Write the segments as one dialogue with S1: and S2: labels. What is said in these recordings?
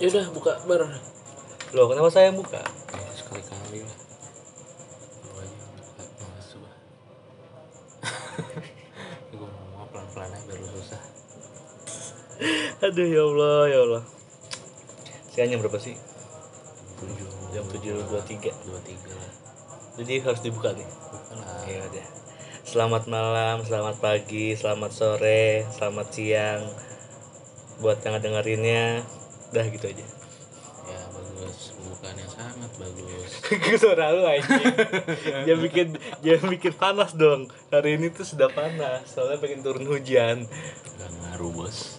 S1: ya udah buka bar
S2: Loh, kenapa saya yang buka?
S3: Ya, sekali-kali lah. Lu aja yang buka, males gua. Ini gua ngomong pelan-pelan aja biar lu susah.
S2: Aduh, ya Allah, ya Allah. Sekarang jam berapa sih? Jam
S3: 23
S2: 7.23.
S3: lah.
S2: Jadi harus dibuka nih.
S3: Buka lah.
S2: Ya udah. Selamat malam, selamat pagi, selamat sore, selamat siang. Buat yang dengerinnya, dah gitu aja.
S3: Ya, bagus. Bukannya sangat bagus.
S2: Ke suara lu anjing. jangan bikin jangan bikin panas dong. Hari ini tuh sudah panas, soalnya pengen turun hujan.
S3: Gak ngaruh, bos.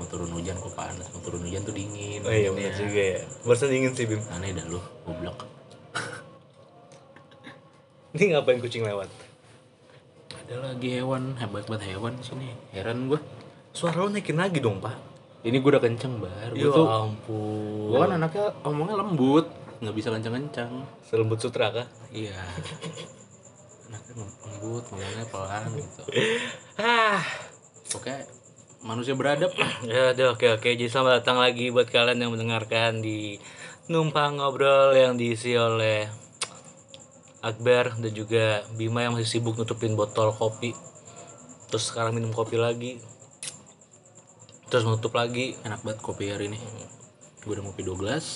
S3: Mau turun hujan kok panas, mau turun hujan tuh dingin.
S2: Oh iya benar juga ya. Barusan dingin sih Bim.
S3: Aneh dah lu, goblok.
S2: Ini ngapain kucing lewat?
S3: Ada lagi hewan, hebat-hebat hewan di sini. Heran gua.
S2: Suara lu naikin lagi dong, Pak.
S3: Ini gua udah kenceng, Bar. Gua
S2: Ya
S3: tuh
S2: ampun.
S3: Gua kan anaknya omongnya lembut, nggak bisa kenceng-kenceng.
S2: Serembut sutra kah?
S3: Iya. anaknya lembut, ngomongnya pelan gitu.
S2: Ah.
S3: Oke, manusia beradab.
S2: Ya udah oke oke. Jadi selamat datang lagi buat kalian yang mendengarkan di numpang ngobrol yang diisi oleh Akbar dan juga Bima yang masih sibuk nutupin botol kopi. Terus sekarang minum kopi lagi. Terus menutup lagi.
S3: Enak banget kopi hari ini. Gue udah ngopi 2 gelas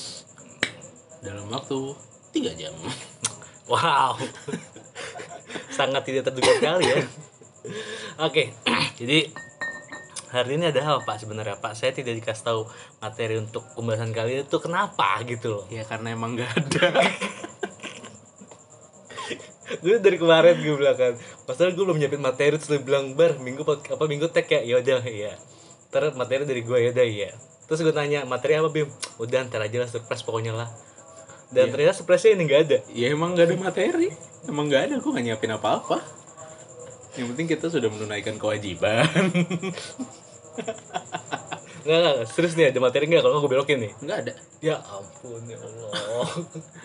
S3: dalam waktu 3 jam.
S2: Wow. Sangat tidak terduga sekali ya. Oke, jadi hari ini ada apa Pak sebenarnya Pak? Saya tidak dikasih tahu materi untuk pembahasan kali itu kenapa gitu loh.
S3: ya karena emang gak ada.
S2: Gue dari kemarin gue bilang kan, pasal gue belum nyiapin materi terus lu bilang bar minggu pod- apa minggu tag ya, ya udah ya. Ntar materi dari gue ya udah ya. Terus gue tanya materi apa Bim? Udah ntar aja lah surprise pokoknya lah. Dan ternyata surprise-nya ini nggak ada.
S3: ya emang gak ada materi. Emang gak ada, gue gak nyiapin apa-apa. Yang penting kita sudah menunaikan kewajiban.
S2: Nggak, nggak, nggak. serius nih ada materi nggak? Kalau nggak gue belokin nih.
S3: Gak ada,
S2: Ya ampun ya Allah.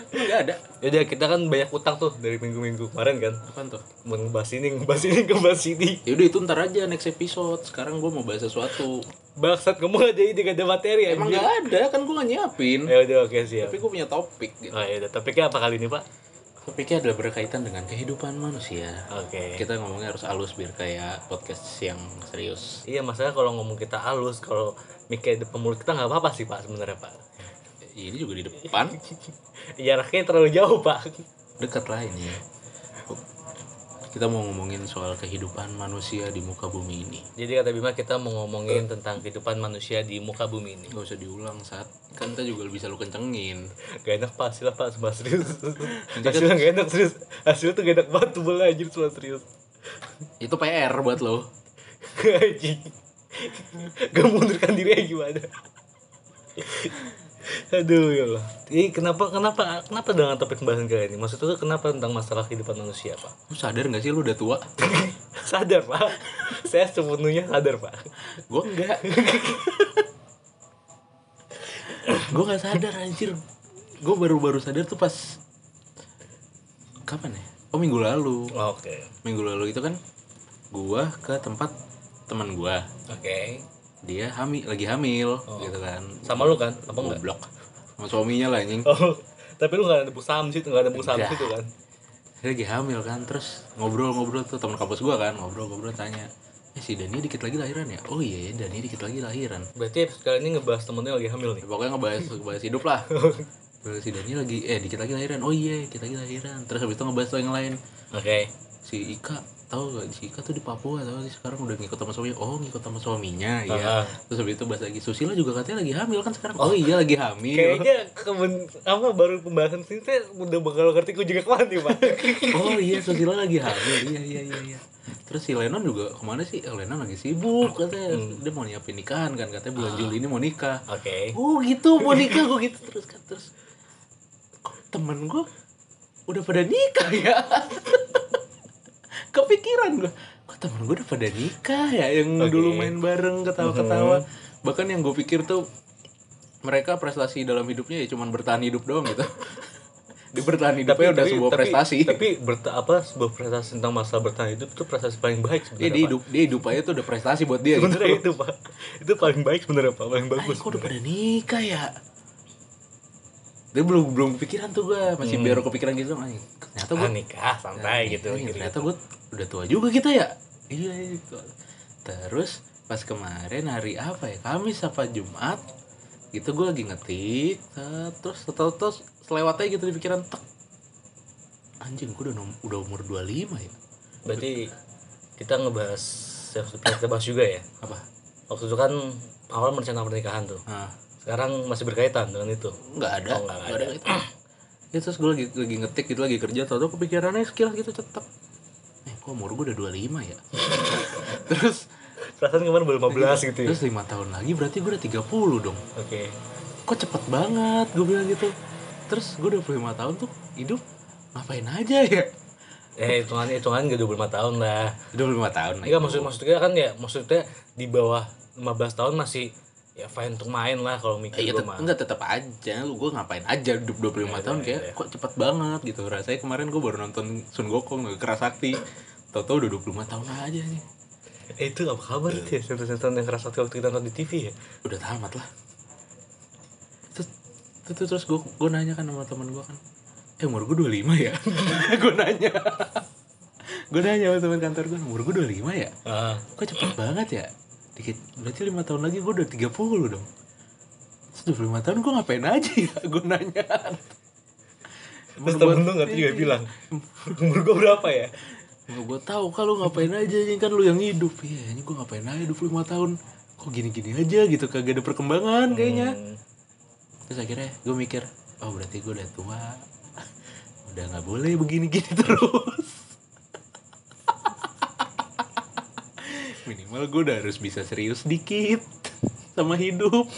S3: gak ada.
S2: Yaudah kita kan banyak utang tuh dari minggu-minggu kemarin kan
S3: Apaan tuh?
S2: Mau ngebahas ini, ngebahas ini, ngebahas ini
S3: Yaudah Ya itu ntar aja next episode. Sekarang gue mau bahas sesuatu.
S2: Bangsat kamu gak ada ide, gak ada materi
S3: Emang
S2: anjir.
S3: gak ada, kan gue gak nyiapin.
S2: Yaudah oke siap
S3: Tapi gue punya topik gitu.
S2: Oh yaudah, topiknya apa kali ini pak?
S3: Topiknya adalah berkaitan dengan kehidupan manusia.
S2: Oke
S3: Kita ngomongnya harus halus biar kayak podcast yang serius.
S2: Iya masalah kalau ngomong kita halus, kalau mikir di mulut kita nggak apa-apa sih pak sebenarnya pak
S3: Ini juga di depan,
S2: Jaraknya terlalu jauh pak
S3: dekat lah ini. Kita mau ngomongin soal kehidupan manusia di muka bumi ini.
S2: Jadi kata Bima kita mau ngomongin tentang kehidupan manusia di muka bumi ini
S3: Gak usah diulang saat kan kita juga bisa lu kencengin.
S2: Gak enak pak, hasilnya pak, sumpah serius
S3: Jadi kan-
S2: Hasilnya gak enak serius, hasilnya tuh gak enak banget, tebelnya anjir sumpah serius
S3: Itu PR buat lo.
S2: Anjing. Gak mundurkan diri aja gimana? Aduh ya Allah. Jadi kenapa kenapa kenapa dengan topik pembahasan kali ini? Maksudnya tuh kenapa tentang masalah kehidupan manusia, Pak?
S3: Lu sadar gak sih lu udah tua?
S2: sadar, Pak. Saya sepenuhnya sadar, Pak.
S3: Gue enggak. gue nggak sadar anjir. Gue baru-baru sadar tuh pas kapan ya? Oh minggu lalu.
S2: Oke.
S3: Minggu lalu itu kan gua ke tempat teman gua.
S2: Oke.
S3: Dia hamil, lagi hamil gitu kan.
S2: Sama lu kan? Apa enggak?
S3: Goblok. Sama suaminya lah anjing.
S2: Oh, tapi lu gak ada buku saham sih, gak ada buku saham
S3: Enggak.
S2: situ kan?
S3: Dia lagi hamil kan, terus ngobrol-ngobrol tuh teman kampus gua kan, ngobrol-ngobrol tanya. Eh si Dani dikit lagi lahiran ya? Oh iya ya Dani dikit lagi lahiran.
S2: Berarti episode kali ini ngebahas temennya lagi hamil nih.
S3: Ya, pokoknya ngebahas ngebahas hidup lah Terus si Dani lagi eh dikit lagi lahiran oh iya dikit lagi lahiran terus habis itu ngebahas yang lain
S2: Oke.
S3: si Ika tahu gak si Ika tuh di Papua tahu sih sekarang udah ngikut sama suaminya oh ngikut sama suaminya
S2: Ah.
S3: iya terus habis itu bahas lagi Susila juga katanya lagi hamil kan sekarang oh iya lagi hamil
S2: Kayaknya kemen, apa baru pembahasan sini tuh udah bakal ngerti juga kemana nih, Pak.
S3: oh iya Susila lagi hamil iya iya iya iya terus si Lenon juga kemana sih Eh, Lenon lagi sibuk katanya dia mau nyiapin nikahan kan katanya bulan Juli ini mau nikah
S2: Oke.
S3: Oh gitu mau nikah gue gitu terus kan terus kok temen gue udah pada nikah ya kepikiran gue kok temen gue udah pada nikah ya yang
S2: Oke. Hmm.
S3: dulu main bareng ketawa-ketawa bahkan yang gue pikir tuh mereka prestasi dalam hidupnya ya cuman bertahan hidup doang gitu Dia bertahan hidupnya udah sebuah prestasi.
S2: tapi berta- apa sebuah prestasi tentang masalah bertahan hidup itu prestasi paling baik
S3: Dia,
S2: sebenarnya
S3: dia
S2: Pak.
S3: hidup dia hidup aja tuh udah prestasi buat dia. gitu.
S2: sebenarnya itu pak itu paling baik sebenarnya pak paling
S3: Ay,
S2: bagus
S3: kok udah pada nikah ya? Dia belum belum kepikiran tuh gua, masih baru kepikiran gitu. Ay, ternyata gua
S2: ah, nikah Hmm. santai gitu
S3: Ay,
S2: mikirnya.
S3: ternyata gua udah tua juga kita ya. Iya, iya. Terus pas kemarin hari apa ya? Kamis apa Jumat? Gitu gua lagi ngetik, terus tahu terus selewat aja gitu di pikiran tek. Anjing, gua udah nom- udah umur 25 ya.
S2: berarti kita ngebahas yang sudah kita bahas juga ya
S3: Apa?
S2: waktu itu kan awal merencana pernikahan tuh
S3: Ah.
S2: sekarang masih berkaitan dengan itu
S3: nggak ada
S2: Oh, nggak
S3: nggak ada, gitu. ya terus gue lagi lagi ngetik gitu lagi kerja tau tau kepikirannya sekilas gitu tetep eh kok umur gue udah 25 ya terus
S2: perasaan kemarin baru 15 gitu ya
S3: terus lima tahun lagi berarti gue udah 30 dong
S2: oke
S3: kok cepet banget gue bilang gitu terus gue 25 tahun tuh hidup ngapain aja ya
S2: eh hitungan hitungan gak 25 tahun lah
S3: 25 tahun lah
S2: Enggak maksud maksudnya kan ya maksudnya di bawah 15 tahun masih ya fine untuk main lah kalau mikir
S3: Iya,
S2: gua
S3: tet-
S2: mah. Iya,
S3: enggak tetap aja lu gue ngapain aja hidup 25 tahun kayak kok cepet banget gitu rasanya kemarin gue baru nonton Sun Gokong keras sakti tau-tau udah 25 tahun aja nih
S2: Eh, itu apa kabar tuh ya sinetron yang keras hati waktu kita nonton di TV ya?
S3: udah tamat lah terus terus, terus gue gue nanya kan sama teman gue kan eh umur gue 25 ya gue nanya gue nanya sama teman kantor gue umur gue 25 ya
S2: Ah,
S3: kok cepet banget ya dikit berarti lima tahun lagi gue udah 30 dong terus 25 tahun gue ngapain aja ya gue nanya
S2: terus temen lu nggak tuh juga bilang umur gua berapa ya?
S3: gue tahu kalau ngapain aja ini kan lu yang hidup ya ini gue ngapain aja 25 tahun kok gini-gini aja gitu kagak ada perkembangan kayaknya
S2: Hmm,
S3: terus akhirnya gue mikir oh berarti gue udah tua udah nggak boleh begini-gini terus minimal gue udah harus bisa serius dikit sama hidup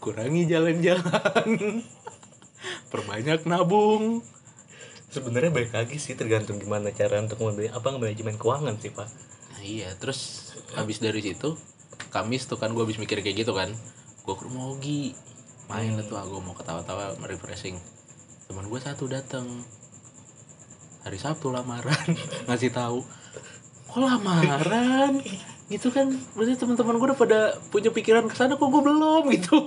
S3: kurangi jalan-jalan perbanyak nabung
S2: Sebenarnya balik lagi sih tergantung gimana cara untuk membeli apa manajemen keuangan sih pak.
S3: Nah, iya, terus habis dari situ Kamis tuh kan gue habis mikir kayak gitu kan. Gue ke rumah Ogi. Main lah tuh ah, gua mau ketawa-tawa refreshing. Teman gue satu datang. Hari Sabtu lamaran ngasih tahu. Kok lamaran? gitu kan berarti teman-teman gue udah pada punya pikiran ke sana kok gue belum gitu.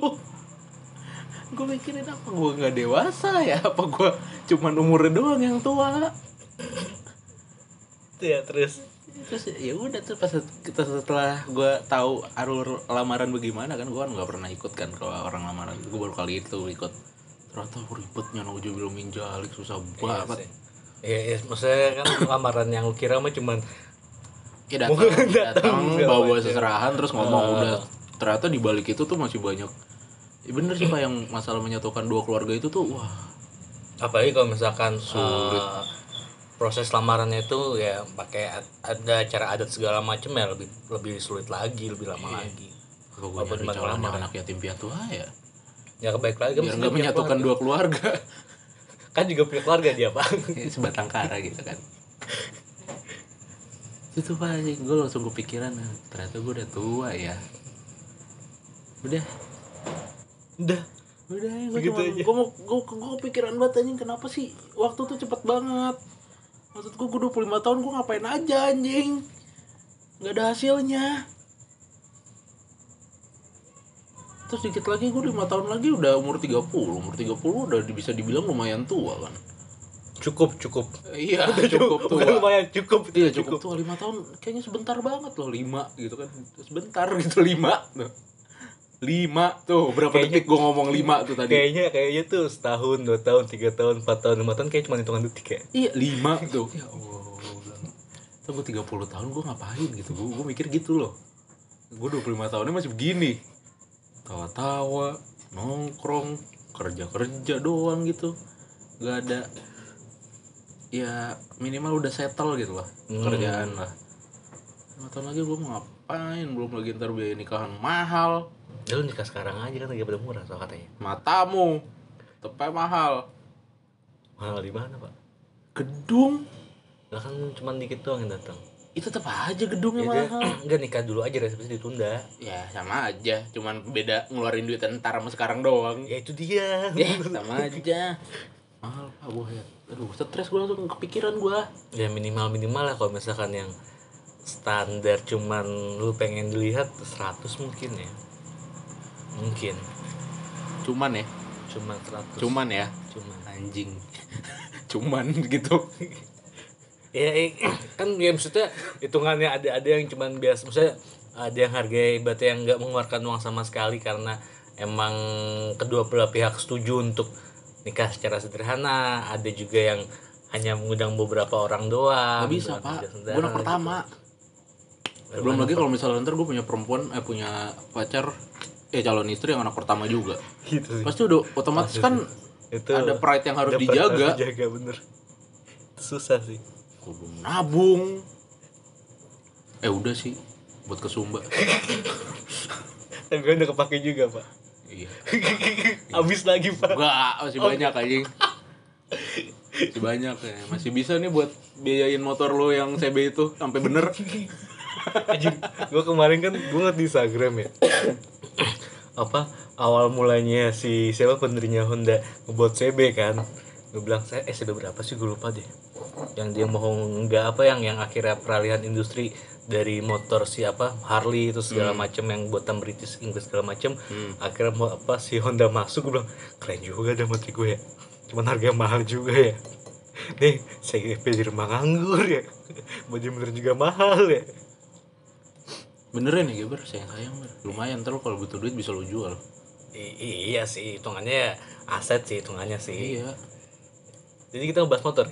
S3: gue mikirin apa gue nggak dewasa ya apa gue cuman umurnya doang yang tua
S2: Itu ya terus
S3: terus ya udah terus pas kita setelah gue tahu alur lamaran bagaimana kan gue kan nggak pernah ikut kan ke orang lamaran gue baru kali itu ikut ternyata ribetnya nojo belum minjalik susah banget
S2: Ya, ya, maksudnya kan lamaran yang lu kira mah cuman
S3: ya datang datang bawa seserahan terus ngomong udah ternyata di balik itu tuh masih banyak ya bener sih pak yang masalah menyatukan dua keluarga itu tuh wah
S2: apalagi kalau misalkan eh, proses lamarannya itu ya pakai ad- ada acara adat segala macam ya lebih lebih sulit lagi lebih lama lagi
S3: apa gue nyari calon anak yatim piatu aja
S2: ya kebaik lagi kan
S3: biar nggak
S2: mesti dia punya
S3: menyatukan dua keluarga
S2: keluarga. kan juga punya keluarga dia pak
S3: Ya, sebatang kara gitu kan itu pak gue langsung kepikiran "Ah, ternyata gue udah tua ya udah
S2: udah
S3: udah gue
S2: Begitu
S3: cuma
S2: aja.
S3: gue mau gue gue kepikiran banget anjing kenapa sih waktu tuh cepet banget maksud gue gue 25 tahun gue ngapain aja anjing nggak ada hasilnya terus dikit lagi gue lima tahun lagi udah umur 30 umur 30 udah bisa dibilang lumayan tua kan
S2: cukup cukup
S3: iya cukup
S2: Bukan
S3: tua
S2: lumayan cukup
S3: Iya cukup, tua lima tahun kayaknya sebentar banget loh lima gitu kan sebentar gitu lima tuh lima tuh berapa detik gue ngomong lima tuh tadi
S2: kayaknya kayaknya tuh setahun dua tahun tiga tahun empat tahun lima tahun kayak cuma hitungan detik ya
S3: iya lima tuh ya allah gua bilang. tuh gue tiga puluh tahun gue ngapain gitu gue gue mikir gitu loh gue 25 tahunnya masih begini tawa-tawa nongkrong kerja-kerja doang gitu gak ada ya minimal udah settle gitu lah kerjaan lah lima tahun lagi gue mau ngapain belum lagi ntar biaya nikahan mahal
S2: ya lu nikah sekarang aja kan lagi pada murah soal katanya
S3: matamu tepai mahal
S2: mahal di mana pak
S3: gedung
S2: lah kan cuma dikit doang yang datang
S3: itu tetap aja gedungnya
S2: Jadi,
S3: mahal
S2: enggak nikah dulu aja resepsi ditunda
S3: ya sama aja Iya. cuman beda ngeluarin duit ntar sama sekarang doang
S2: ya itu dia
S3: ya sama aja mahal pak gue ya aduh stres gue langsung kepikiran gue
S2: ya minimal minimal lah kalau misalkan yang standar cuman lu pengen dilihat 100 mungkin ya mungkin
S3: cuman ya
S2: cuman 100
S3: cuman ya
S2: cuman
S3: anjing cuman gitu
S2: ya i- kan ya maksudnya hitungannya ada ada yang cuman biasa maksudnya ada yang harga ibaratnya yang nggak mengeluarkan uang sama sekali karena emang kedua belah pihak setuju untuk nikah secara sederhana ada juga yang hanya mengundang beberapa orang doang
S3: nggak bisa pak
S2: beberapa
S3: gue
S2: tidak saudara
S3: anak pertama
S2: gitu.
S3: belum lagi kalau misalnya ntar gue punya perempuan eh punya pacar eh calon istri yang anak pertama juga
S2: gitu sih.
S3: pasti udah otomatis kan
S2: itu
S3: ada pride yang harus
S2: ada peraturan
S3: dijaga
S2: dijaga, bener Itu susah sih
S3: kudu nabung eh udah sih buat ke Sumba
S2: dan gue udah kepake juga pak
S3: iya
S2: habis lagi pak
S3: enggak masih banyak anjing masih banyak ya masih bisa nih buat biayain motor lo yang CB itu sampai bener
S2: Anjing, gue kemarin kan gue ngeliat di Instagram ya apa awal mulanya si siapa pendirinya Honda ngebuat CB kan gue bilang saya eh, CB berapa sih gue lupa deh yang dia mau nggak apa yang yang akhirnya peralihan industri dari motor siapa Harley itu segala macem yang buatan British Inggris segala macem akhirnya mau apa si Honda masuk gue bilang keren juga dah mati gue ya cuman harga mahal juga ya nih saya di rumah nganggur ya baju bener juga mahal ya
S3: beneran ya Geber sayang sayang lumayan ntar lo kalau butuh duit bisa lo jual
S2: I- i- iya sih hitungannya aset sih hitungannya sih
S3: iya
S2: jadi kita ngebahas motor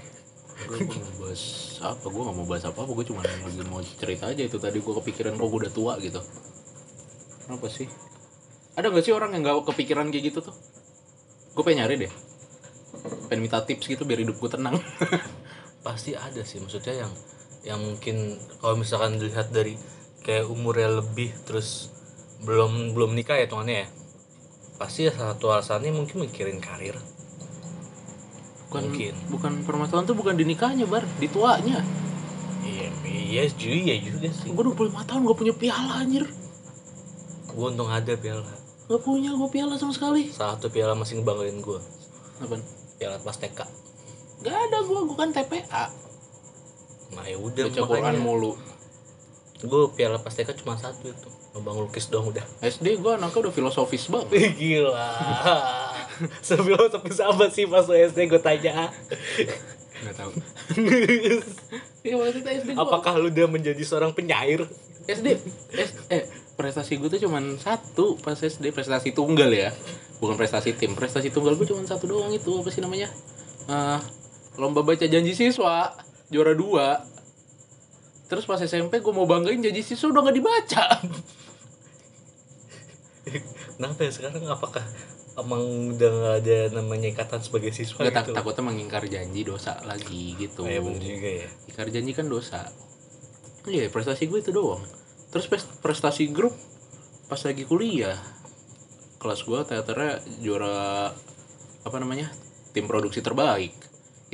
S3: gue mau bahas apa gue gak mau bahas apa apa gue cuma lagi mau cerita aja itu tadi gue kepikiran kok gue udah tua gitu kenapa sih ada gak sih orang yang gak kepikiran kayak gitu tuh gue pengen nyari deh pengen minta tips gitu biar hidup gue tenang
S2: pasti ada sih maksudnya yang yang mungkin kalau misalkan dilihat dari kayak umurnya lebih terus belum belum nikah ya hitungannya ya pasti ya salah satu alasannya mungkin mikirin karir
S3: bukan
S2: Mungkin.
S3: bukan permasalahan tuh bukan di nikahnya bar di tuanya
S2: iya iya juga iya juga sih
S3: gue 25 tahun gak punya piala anjir
S2: gue untung ada piala
S3: gak punya gue piala sama sekali
S2: salah satu piala masih ngebanggain gue
S3: Apaan?
S2: piala pas TK
S3: gak ada gue gue kan TPA
S2: nah ya udah
S3: baca Quran
S2: makanya
S3: mulu
S2: gue piala pas TK cuma satu itu ngebang lukis doang udah
S3: SD gue anaknya udah filosofis banget
S2: Ih, Gila. Sebelum sampai sama sih pas lu SD gue tanya.
S3: Gak tahu. Iya waktu itu SD gua-
S2: Apakah lu udah menjadi seorang penyair?
S3: SD S- eh prestasi gue tuh cuman satu pas SD prestasi tunggal ya. Bukan prestasi tim, prestasi tunggal gue cuman satu doang itu apa sih namanya? Eh lomba baca janji siswa juara dua. Terus pas SMP gue mau banggain janji siswa udah gak dibaca.
S2: Kenapa ya sekarang apakah emang udah nggak ada namanya ikatan sebagai siswa
S3: Gak tak,
S2: gitu?
S3: takutnya mengingkar janji dosa lagi gitu.
S2: Oh, iya bener juga ya.
S3: Ikar janji kan dosa. Iya, prestasi gue itu doang. Terus pres- prestasi grup pas lagi kuliah. Kelas gue teaternya juara apa namanya? Tim produksi terbaik.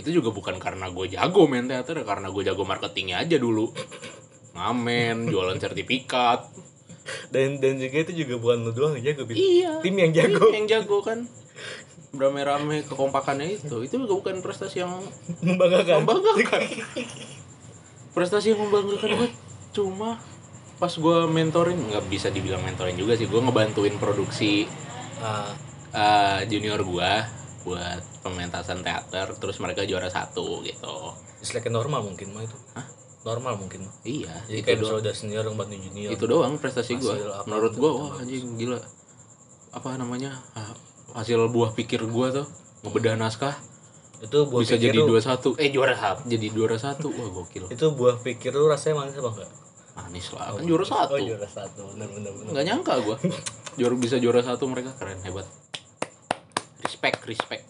S3: Itu juga bukan karena gue jago main teater, karena gue jago marketingnya aja dulu. Ngamen, jualan sertifikat.
S2: Dan dan juga itu juga bukan lu doang yang jago, Bin.
S3: Iya.
S2: Tim yang jago.
S3: Tim yang jago kan. Beramai-ramai kekompakannya itu. Itu juga bukan prestasi yang
S2: Membanggakan.
S3: membanggakan prestasi yang membanggakan gue cuma pas gue mentorin nggak bisa dibilang mentorin juga sih gue ngebantuin produksi
S2: Ah,
S3: eh, junior gue buat pementasan teater terus mereka juara satu gitu
S2: it's like normal mungkin mah itu. Normal mungkin. mah.
S3: iya
S2: Jadi
S3: itu
S2: kayak
S3: doang
S2: misalnya udah senior ngebantu junior.
S3: itu doang prestasi gue
S2: Hasil apa
S3: menurut
S2: itu
S3: gue
S2: itu
S3: wah anjing gila apa namanya ah, hasil buah pikir gue tuh ngebedah naskah
S2: Itu buah
S3: bisa
S2: pikir
S3: jadi
S2: lu,
S3: dua satu eh juara satu jadi juara satu wah gokil
S2: itu buah pikir lu rasanya manis apa enggak?
S3: manis lah kan juara satu
S2: Oh, juara satu. Benar benar benar.
S3: nggak nyangka gue juara bisa juara satu mereka keren hebat respect respect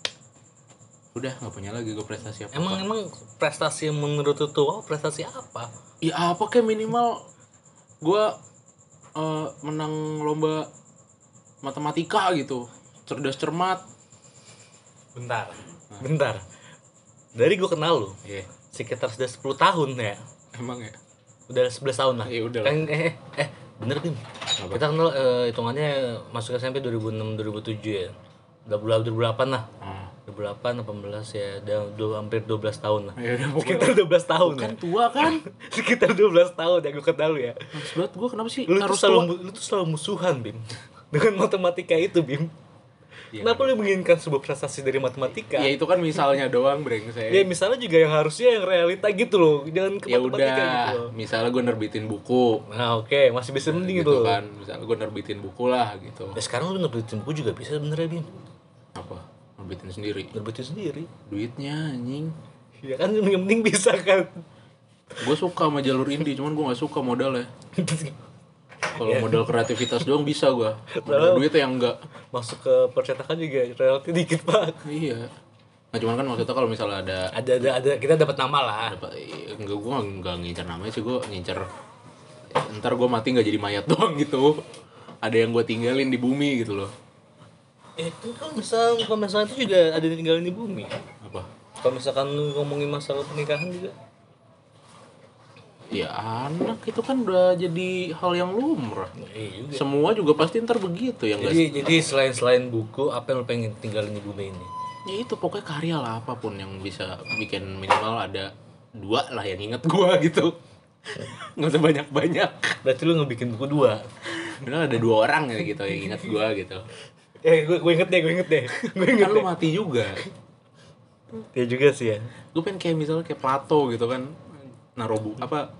S3: udah nggak punya lagi gue prestasi apa
S2: Emang emang prestasi yang menurut lu tuh prestasi apa?
S3: ya apa kayak minimal gue menang lomba matematika gitu cerdas cermat
S2: Bentar. Nah. Bentar. Dari gue kenal lu
S3: iya
S2: sekitar sudah 10 tahun ya.
S3: emang ya
S2: Udah 11 tahun lah.
S3: Iya, udah lah.
S2: Kan eh eh, eh bener kan? Kita kenal eh, hitungannya masuk SMP 2006 2007 ya. Udah bulan 2008 lah.
S3: Hmm.
S2: 2008 28 18 ya udah dua- hampir 12 tahun lah
S3: Ya udah, pokoknya-
S2: sekitar 12 tahun ya
S3: kan tua kan
S2: sekitar 12 tahun yang gue kenal lu ya
S3: Maksud banget gue kenapa sih
S2: lu tuh
S3: harus
S2: selalu
S3: tua?
S2: mu- lu tuh selalu musuhan bim dengan matematika itu bim kenapa lu menginginkan sebuah prestasi dari matematika
S3: ya itu kan Iya, misalnya doang breng
S2: ya
S3: saya
S2: misalnya juga yang harusnya yang realita gitu loh jangan ke
S3: ya
S2: matematika gitu loh
S3: udah misalnya gue nerbitin buku
S2: nah oke masih bisa mending itu
S3: gitu kan misalnya gue nerbitin buku lah gitu
S2: ya sekarang lu nerbitin buku juga bisa sebenarnya bim
S3: apa nerbitin sendiri
S2: nerbitin sendiri
S3: duitnya anjing
S2: ya kan yang penting bisa kan
S3: gue suka sama jalur indie cuman gue nggak suka modalnya kalau modal kreativitas doang bisa gue modal duit yang enggak
S2: masuk ke percetakan juga relatif dikit pak
S3: iya nah cuman kan maksudnya kalau misalnya ada
S2: ada ada, ada kita dapat nama lah
S3: dapat enggak gue enggak ngincer namanya sih gue ngincer ntar gue mati nggak jadi mayat doang gitu ada yang gue tinggalin di bumi gitu loh
S2: eh kalau misalnya kalau misalnya itu juga ada yang tinggalin di bumi
S3: apa
S2: kalau misalkan lu ngomongin masalah pernikahan juga
S3: ya anak itu kan udah jadi hal yang lumrah
S2: iya juga
S3: semua juga pasti ntar begitu yang enggak
S2: jadi jadi selain selain buku apa yang lu pengen tinggalin di bumi ini
S3: ya itu pokoknya karya lah apapun yang bisa bikin minimal ada dua lah yang inget gua gitu nggak usah banyak banyak
S2: berarti lu ngebikin buku dua
S3: minimal ada dua orang ya gitu yang inget gua gitu
S2: eh gue gue inget deh gue inget deh gue inget
S3: kan lu mati juga Iya
S2: ya juga sih ya
S3: gue pengen kayak misalnya kayak Plato gitu kan naruh bu- apa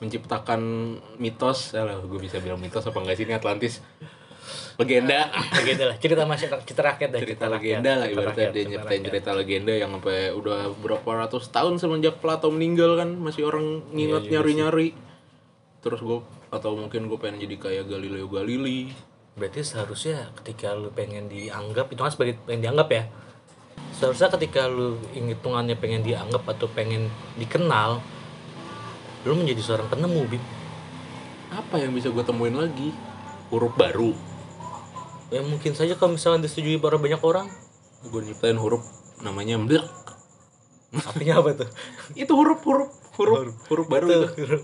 S3: menciptakan mitos lah gue bisa bilang mitos apa enggak sih ini Atlantis legenda
S2: legenda lah cerita masyarakat cerita rakyat dah
S3: cerita legenda lah
S2: cerita
S3: ibaratnya
S2: rakyat,
S3: dia
S2: cerita
S3: nyeritain
S2: rakyat.
S3: cerita legenda yang sampai udah berapa ratus tahun semenjak Plato meninggal kan masih orang nginget nyari-nyari terus gue atau mungkin gue pengen jadi kayak Galileo Galilei
S2: berarti seharusnya ketika lu pengen dianggap itu kan sebagai pengen dianggap ya seharusnya ketika lu hitungannya pengen dianggap atau pengen dikenal lu menjadi seorang penemu bib
S3: apa yang bisa gue temuin lagi huruf baru
S2: ya mungkin saja kalau misalkan disetujui para banyak orang
S3: gue nyiptain huruf namanya blek
S2: artinya apa tuh
S3: itu huruf huruf huruf huruf baru itu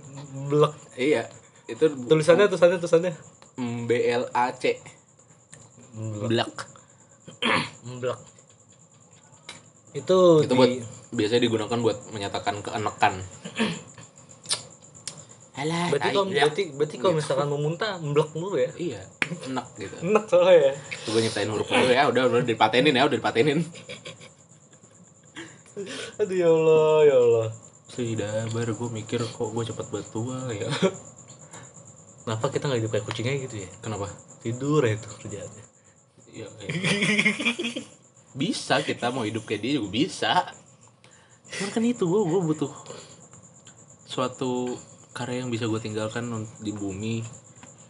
S2: blok
S3: iya itu
S2: tulisannya tulisannya tulisannya
S3: B L A C blek
S2: blok itu
S3: itu buat biasanya digunakan buat menyatakan keenekan Alah,
S2: berarti kalau berarti berarti kalau misalkan mau muntah blok dulu ya
S3: Iya, enak gitu.
S2: enak soalnya ya
S3: Coba nyiptain huruf dulu ya, udah udah dipatenin ya, udah dipatenin.
S2: aduh ya allah ya allah
S3: Sudah, baru gue mikir kok gue cepat bertua ya.
S2: kenapa kita nggak hidup kayak kucingnya gitu ya
S3: Kenapa?
S2: tidur ya itu kerjaannya
S3: Ya, ya. Bisa kita mau hidup kayak dia juga bisa. Cuman kan itu gue gue butuh suatu karya yang bisa gue tinggalkan un- di bumi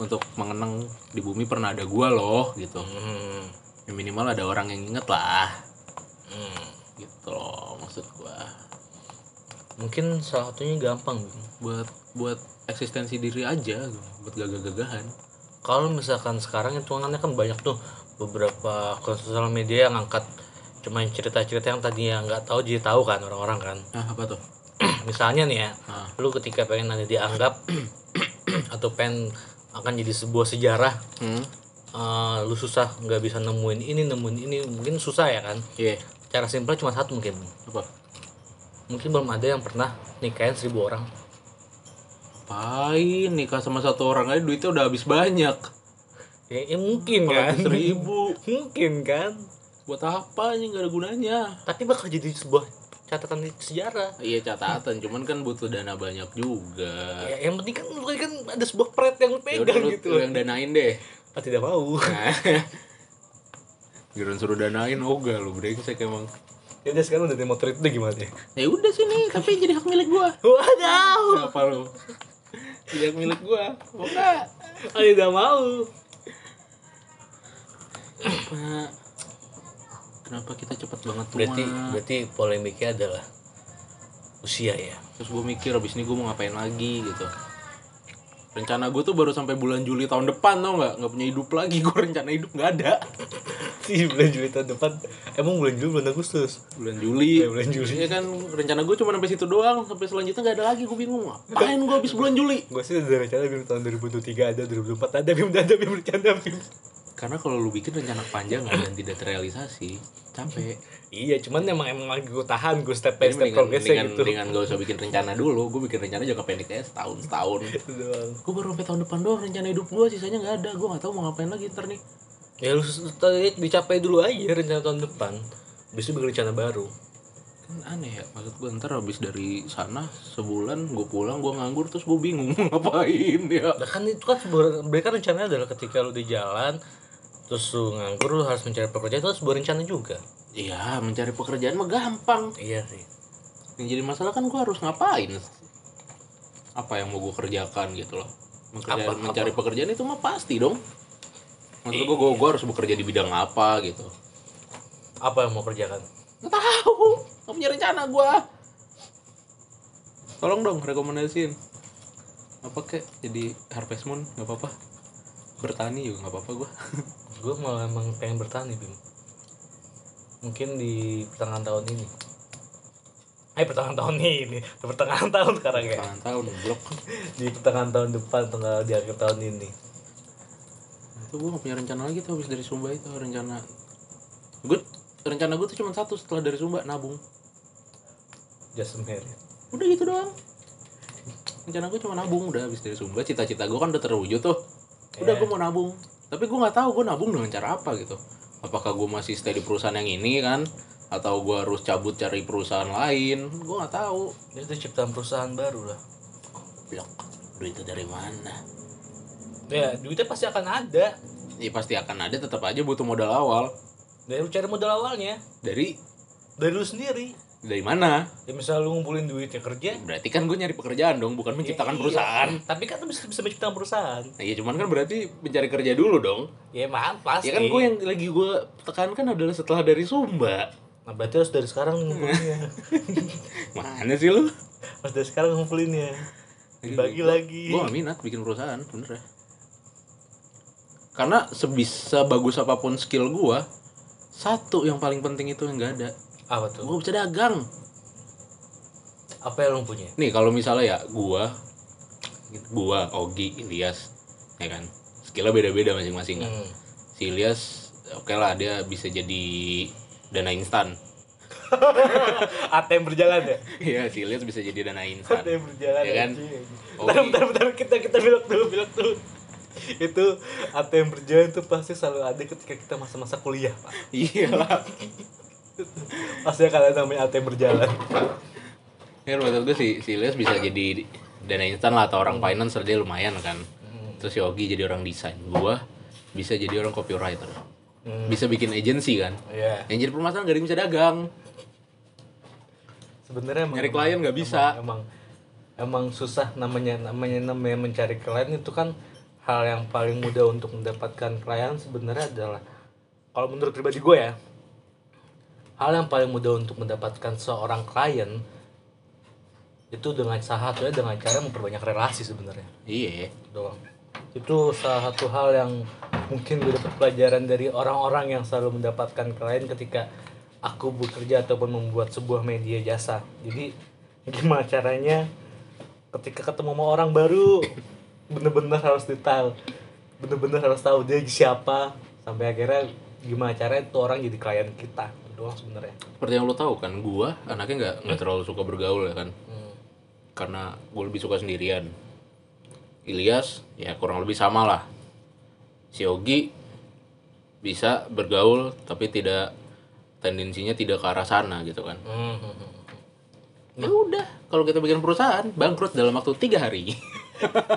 S3: untuk mengenang di bumi pernah ada gue loh gitu.
S2: hmm.
S3: Ya, minimal ada orang yang inget lah
S2: Hmm.
S3: gitu loh maksud gue.
S2: mungkin salah satunya gampang Bim.
S3: buat buat eksistensi diri aja gitu, buat gagah-gagahan
S2: kalau misalkan sekarang hitungannya kan banyak tuh beberapa akun sosial media yang angkat cuman cerita-cerita yang tadinya nggak tahu jadi tahu kan orang-orang kan
S3: ah apa tuh
S2: misalnya nih ya
S3: ah
S2: lu ketika pengen ada dianggap atau pengen akan jadi sebuah sejarah
S3: hmm
S2: eh, lu susah nggak bisa nemuin ini nemuin ini mungkin susah ya kan
S3: iya
S2: cara simpelnya cuma satu mungkin
S3: apa
S2: mungkin belum ada yang pernah nikahin seribu orang
S3: Apain nikah sama satu orang aja duitnya udah habis banyak
S2: ya, ya
S3: Iya.
S2: mungkin kan
S3: apalagi seribu
S2: mungkin kan
S3: buat apa aja nggak ada gunanya
S2: tapi bakal jadi sebuah catatan di sejarah
S3: iya catatan cuman kan butuh dana banyak juga
S2: ya, yang penting kan lu kan ada sebuah pret yang lu
S3: ya udah
S2: pegang
S3: lu,
S2: gitu
S3: lu yang danain deh
S2: ah, tidak mau
S3: Nah. Giliran suruh danain ogah lu brengsek emang
S2: ya udah sekarang udah demo trade itu gimana ya
S3: ya udah sini tapi jadi hak milik gua
S2: waduh
S3: kenapa lu jadi hak milik gua mau nggak?
S2: ah, tidak mau
S3: Kenapa- kenapa kita cepat banget tua
S2: berarti berarti polemiknya adalah usia ya
S3: terus gue mikir abis ini gue mau ngapain lagi gitu rencana gue tuh baru sampai bulan Juli tahun depan tau nggak nggak punya hidup lagi gue rencana hidup nggak ada
S2: si bulan Juli tahun depan emang bulan Juli bulan Agustus
S3: bulan Juli
S2: Ya, bulan Juli.
S3: Iya kan rencana gue cuma sampai situ doang sampai selanjutnya nggak ada lagi gue bingung ngapain gue abis bulan Juli
S2: gue sih udah rencana bim tahun 2023 ada 2024 ada bim ada bim rencana bim
S3: karena kalau lu bikin rencana panjang dan tidak terrealisasi capek
S2: Iya, cuman emang emang lagi gue tahan gue step by
S3: Jadi
S2: step
S3: mendingan,
S2: progresnya
S3: mendingan,
S2: gitu.
S3: mendingan gak usah bikin rencana dulu gue bikin rencana jangka pendeknya setahun setahun
S2: Itu doang.
S3: gue baru sampai tahun depan doang rencana hidup gue sisanya nggak ada gue nggak tahu mau ngapain lagi ntar nih
S2: Ya lu s- tadi dicapai dulu aja rencana tahun depan. Habis itu bikin rencana baru.
S3: kan aneh ya maksud gue ntar habis dari sana sebulan gue pulang gue nganggur terus gue bingung mau ngapain ya
S2: Lah kan itu kan sebuah mereka rencananya adalah ketika lu di jalan terus lu nganggur lu harus mencari pekerjaan itu kan sebuah rencana juga.
S3: iya mencari pekerjaan mah gampang
S2: Iya sih.
S3: yang jadi masalah kan gue harus ngapain apa yang mau gue kerjakan gitu loh Menkerja-
S2: Apa-
S3: mencari pekerjaan itu mah pasti dong maksud gue gue harus bekerja di bidang apa gitu
S2: Apa yang mau kerjakan?
S3: nggak tahu nggak punya rencana gue tolong dong rekomendasiin apa kek jadi harvest moon nggak apa-apa bertani juga nggak apa-apa gue
S2: Gue malah emang pengen bertani, Bim. Mungkin di pertengahan tahun ini. Eh, pertengahan tahun ini. Pertengahan tahun sekarang ya.
S3: tangan tahun blok
S2: Di pertengahan tahun depan atau di akhir tahun ini.
S3: itu gue nggak punya rencana lagi tuh habis dari Sumba itu rencana gue rencana gue tuh cuma satu setelah dari Sumba nabung
S2: Just married.
S3: udah gitu doang rencana gue cuma nabung udah habis dari Sumba cita-cita gue kan udah terwujud tuh udah
S2: Iya.
S3: gue mau nabung tapi gue nggak tahu gue nabung dengan cara apa gitu apakah gue masih stay di perusahaan yang ini kan atau gue harus cabut cari perusahaan lain gue nggak tahu
S2: Ya, Itu ciptaan perusahaan baru lah.
S3: blok duitnya dari mana
S2: Ya, duitnya pasti akan ada.
S3: ya pasti akan ada tetap aja butuh modal awal
S2: Dari lu cari modal awalnya.
S3: dari
S2: Dari lu sendiri.
S3: dari mana
S2: Ya misal lu ngumpulin duitnya kerja.
S3: berarti kan gue nyari pekerjaan dong bukan menciptakan
S2: Iya.
S3: perusahaan
S2: Tapi kan lu bisa, bisa menciptakan perusahaan.
S3: Nah, iya cuman kan berarti mencari kerja dulu dong
S2: Ya maaf pasti.
S3: ya kan gue yang lagi gue tekankan adalah setelah dari Sumba
S2: Nah, berarti harus dari sekarang ngumpulinnya.
S3: mana sih lu
S2: harus dari sekarang ngumpulinnya. Dibagi lagi.
S3: gue gak minat bikin perusahaan bener ya karena sebisa bagus apapun skill gue satu yang paling penting itu yang gak ada
S2: Apa tuh?
S3: gue bisa dagang
S2: Apa yang lu punya?
S3: nih kalau misalnya ya gue gue Ogi Ilyas ya kan skillnya beda-beda masing-masing kan.
S2: Hmm.
S3: si Ilyas oke lah dia bisa jadi dana instan
S2: ATM berjalan ya? Oh,
S3: Iya, si Ilyas bisa jadi dana instan
S2: ATM berjalan.
S3: Iya kan?
S2: anjing.
S3: Oke.
S2: Bentar, bentar, bentar, kita kita bilang dulu, bilang dulu. itu ATM berjalan itu pasti selalu ada ketika kita masa-masa kuliah, Pak.
S3: iya lah
S2: Pasti akan ada namanya ATM berjalan.
S3: Ya menurut gue si, si Ilyas bisa jadi dana instan lah atau orang finance dia lumayan kan. Terus si Ogi jadi orang desain. Gua bisa jadi orang copywriter.
S2: Hmm.
S3: Bisa bikin agensi kan.
S2: Iya.
S3: Yang jadi permasalahan gak ada yang bisa dagang.
S2: Sebenarnya emang-
S3: Nyari klien nggak bisa.
S2: Emang, emang emang susah namanya namanya namanya mencari klien itu kan hal yang paling mudah untuk mendapatkan klien sebenarnya adalah kalau menurut pribadi gue ya hal yang paling mudah untuk mendapatkan seorang klien itu dengan salah satunya dengan cara memperbanyak relasi sebenarnya
S3: Iya.
S2: doang itu salah satu hal yang mungkin gue dapat pelajaran dari orang-orang yang selalu mendapatkan klien ketika aku bekerja ataupun membuat sebuah media jasa jadi gimana caranya ketika ketemu sama orang baru bener-bener harus detail bener-bener harus tahu dia siapa sampai akhirnya gimana caranya itu orang jadi klien kita Itu doang sebenarnya
S3: Seperti yang lo tahu kan, gua anaknya nggak nggak terlalu suka bergaul ya kan.
S2: Hmm.
S3: Karena gue lebih suka sendirian. Ilyas ya kurang lebih sama lah. Si Ogi bisa bergaul tapi tidak tendensinya tidak ke arah sana gitu kan. Ya udah, kalau kita bikin perusahaan bangkrut dalam waktu tiga hari.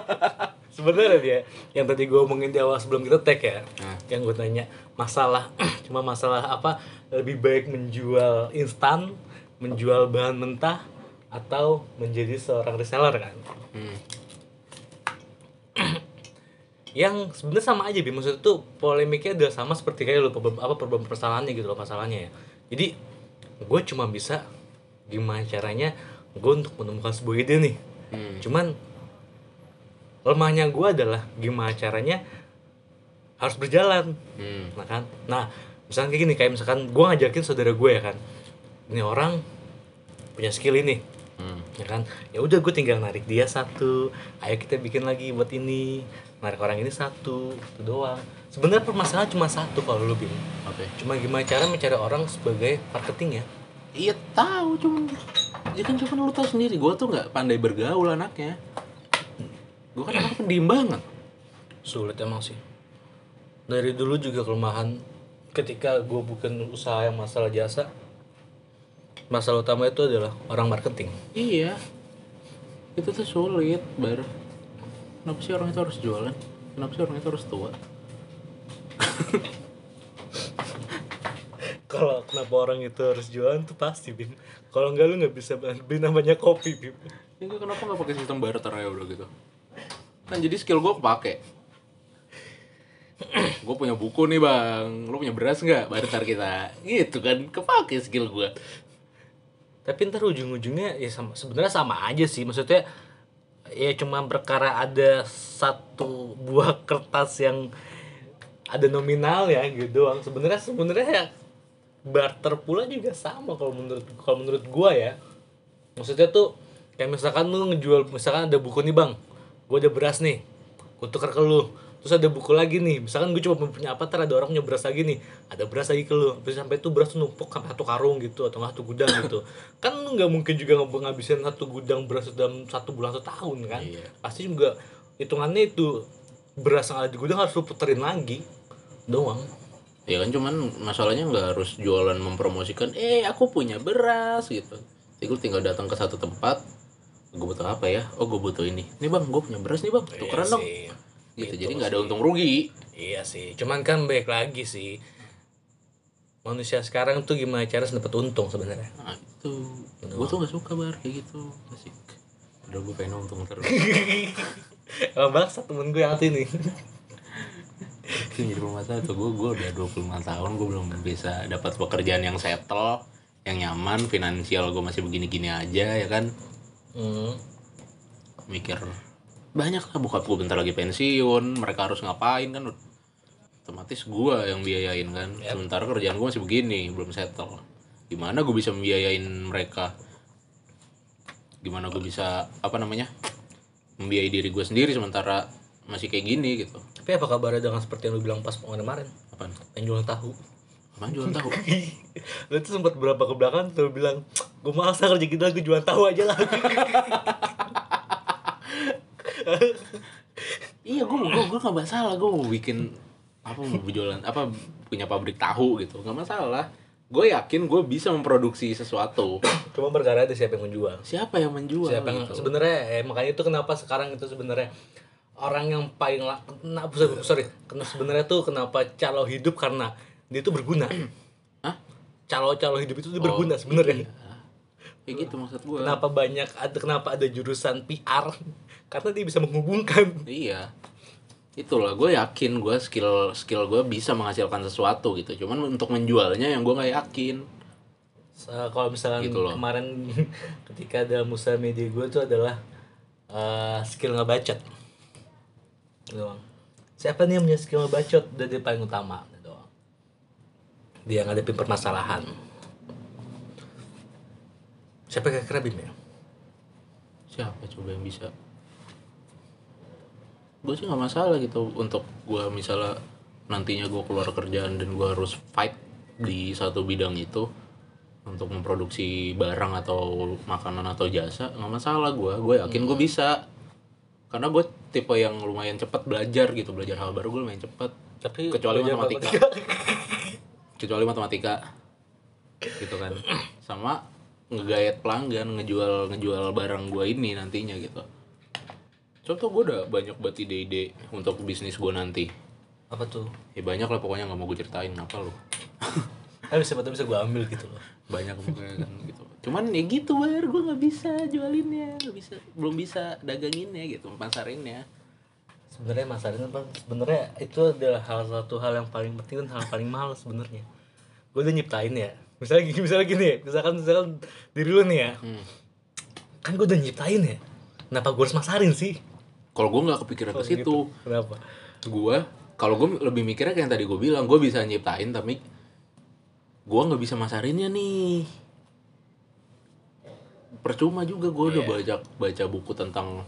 S2: sebenarnya dia yang tadi gue omongin di awal sebelum kita tag ya
S3: Hmm.
S2: yang gue tanya masalah cuma masalah apa lebih baik menjual instan menjual bahan mentah atau menjadi seorang reseller kan
S3: Hmm,
S2: yang sebenarnya sama aja bi maksud itu polemiknya udah sama seperti kayak lu problem- apa problem persalahannya gitu loh masalahnya ya jadi gue cuma bisa gimana caranya gue untuk menemukan sebuah ide nih
S3: Hmm.
S2: cuman lemahnya gue adalah gimana caranya harus berjalan
S3: Hmm.
S2: nah kan nah misalkan kayak gini kayak misalkan gue ngajakin saudara gue ya kan ini orang punya skill ini
S3: Hmm.
S2: ya kan ya udah gue tinggal narik dia satu ayo kita bikin lagi buat ini narik orang ini satu itu doang sebenarnya permasalahan cuma satu kalau lu bingung
S3: apa ya?
S2: cuma gimana cara mencari orang sebagai marketing ya
S3: Iya tahu cuman ya kan cuman lu tahu sendiri gue tuh nggak pandai bergaul anaknya. Gue kan anak pendiam banget.
S2: sulit emang sih dari dulu juga kelemahan ketika gue bukan usaha yang masalah jasa masalah utama itu adalah orang marketing
S3: Iya. Itu tuh sulit bar. Kenapa sih orang itu harus jualan? Kenapa sih orang itu harus tua?
S2: kalau kenapa orang itu harus jualan tuh pasti bim kalau enggak lu nggak bisa beli namanya kopi bim
S3: Ya, gue kenapa nggak pakai sistem barter ya udah gitu? Kan jadi skill gue kepake. gue punya buku nih bang, lu punya beras nggak? Barter kita, gitu kan? Kepake skill gue.
S2: tapi ntar ujung-ujungnya ya sama sebenarnya sama aja sih maksudnya ya cuma perkara ada satu buah kertas yang ada nominal ya gitu doang sebenarnya sebenarnya ya barter pula juga sama kalau menurut kalau menurut gua ya maksudnya tuh kayak misalkan lu ngejual misalkan ada buku nih bang gua ada beras nih gua tuker ke lu terus ada buku lagi nih misalkan gue cuma punya apa ntar ada orang punya beras lagi nih ada beras lagi ke lu terus sampai itu beras tuh numpuk sampai satu karung gitu atau nggak satu gudang gitu kan lu nggak mungkin juga nge- ngabisin satu gudang beras dalam satu bulan atau tahun kan
S3: Iya.
S2: pasti juga hitungannya itu beras yang ada di gudang harus lu puterin lagi doang
S3: Ya kan cuman masalahnya nggak harus jualan mempromosikan, eh aku punya beras gitu. Jadi gue tinggal datang ke satu tempat, gue butuh apa ya? Oh gue butuh ini. Nih bang, gue punya beras nih bang, tukeran dong. Gitu, jadi nggak ada untung rugi.
S2: Iya sih, cuman kan baik lagi sih. Manusia sekarang tuh gimana cara dapat untung sebenarnya?
S3: Nah itu, gue tuh nggak suka bar kayak gitu. Asik. Udah gue pengen untung terus.
S2: Emang bangsat temen gue yang satu ini.
S3: Itu yang jadi permasalahan tuh gue gue udah 25 tahun gue belum bisa dapat pekerjaan yang settle, yang nyaman, finansial gue masih begini-gini aja ya kan.
S2: Hmm.
S3: mikir banyak lah bokap gue bentar lagi pensiun mereka harus ngapain kan otomatis gue yang biayain kan sementara kerjaan gue masih begini belum settle gimana gue bisa membiayain mereka gimana gue bisa apa namanya membiayai diri gue sendiri sementara masih kayak gini gitu
S2: Tapi apa kabarnya dengan seperti yang lu bilang pas pengen kemarin?
S3: apaan
S2: Pengen jualan tahu.
S3: apaan jualan tahu
S2: lu tuh sempat berapa ke belakang tuh bilang, gue malas ah kerja kita gue jualan tahu aja lah.
S3: iya gue gue gue nggak masalah gue mau bikin apa mau jualan apa punya pabrik tahu gitu nggak masalah gue yakin gue bisa memproduksi sesuatu
S2: Cuma perkara ada siapa yang menjual.
S3: siapa yang menjual gitu?
S2: siapa yang sebenarnya eh, makanya itu kenapa sekarang itu sebenarnya orang yang paling la- kena sorry, sorry kena sebenarnya tuh kenapa calo hidup karena dia itu berguna
S3: Hah? Ya.
S2: calo calo hidup itu dia berguna sebenarnya
S3: kayak gitu maksud gue
S2: kenapa banyak ada kenapa ada jurusan PR karena dia bisa menghubungkan
S3: iya itulah gue yakin gue skill skill gue bisa menghasilkan sesuatu gitu cuman untuk menjualnya yang gue nggak yakin
S2: Se- kalau misalnya
S3: Gitu loh.
S2: kemarin ketika ada musa media gue tuh adalah eh, skill ngebacot Gitu doang siapa nih yang punya skill ngebacot udah dia paling utama gitu doang dia ngadepin permasalahan siapa yang kira Bim ya
S3: siapa coba yang bisa gue sih nggak masalah gitu untuk gue misalnya nantinya gue keluar kerjaan dan gue harus fight di satu bidang itu untuk memproduksi barang atau makanan atau jasa nggak masalah gue gue yakin gue bisa karena gue tipe yang lumayan cepat belajar gitu belajar hal baru gue lumayan cepat
S2: tapi
S3: Kecuali
S2: belajar
S3: matematika. kecuali matematika gitu kan sama ngegayat pelanggan ngejual ngejual barang gua ini nantinya gitu contoh gua udah banyak banget ide-ide untuk bisnis gua nanti
S2: apa tuh
S3: ya banyak lah pokoknya nggak mau gue ceritain apa lu
S2: tapi Eh, siapa tahu bisa gue ambil gitu loh
S3: banyak pokoknya kan gitu cuman ya gitu bar gua nggak bisa jualinnya nggak bisa belum bisa daganginnya gitu pasarinnya
S2: sebenarnya masalahnya bang sebenarnya itu adalah hal satu hal yang paling penting dan hal paling mahal sebenarnya gue udah nyiptain ya misalnya gini misalnya gini ya, misalkan misalkan diri lu nih ya
S3: Hmm.
S2: kan gue udah nyiptain ya kenapa gue harus masarin sih
S3: kalau gua nggak kepikiran ke situ
S2: Gitu. kenapa
S3: gue kalau gue lebih mikirnya kayak yang tadi gue bilang gue bisa nyiptain tapi ya gue nggak bisa masarinnya nih percuma juga gue udah baca baca buku tentang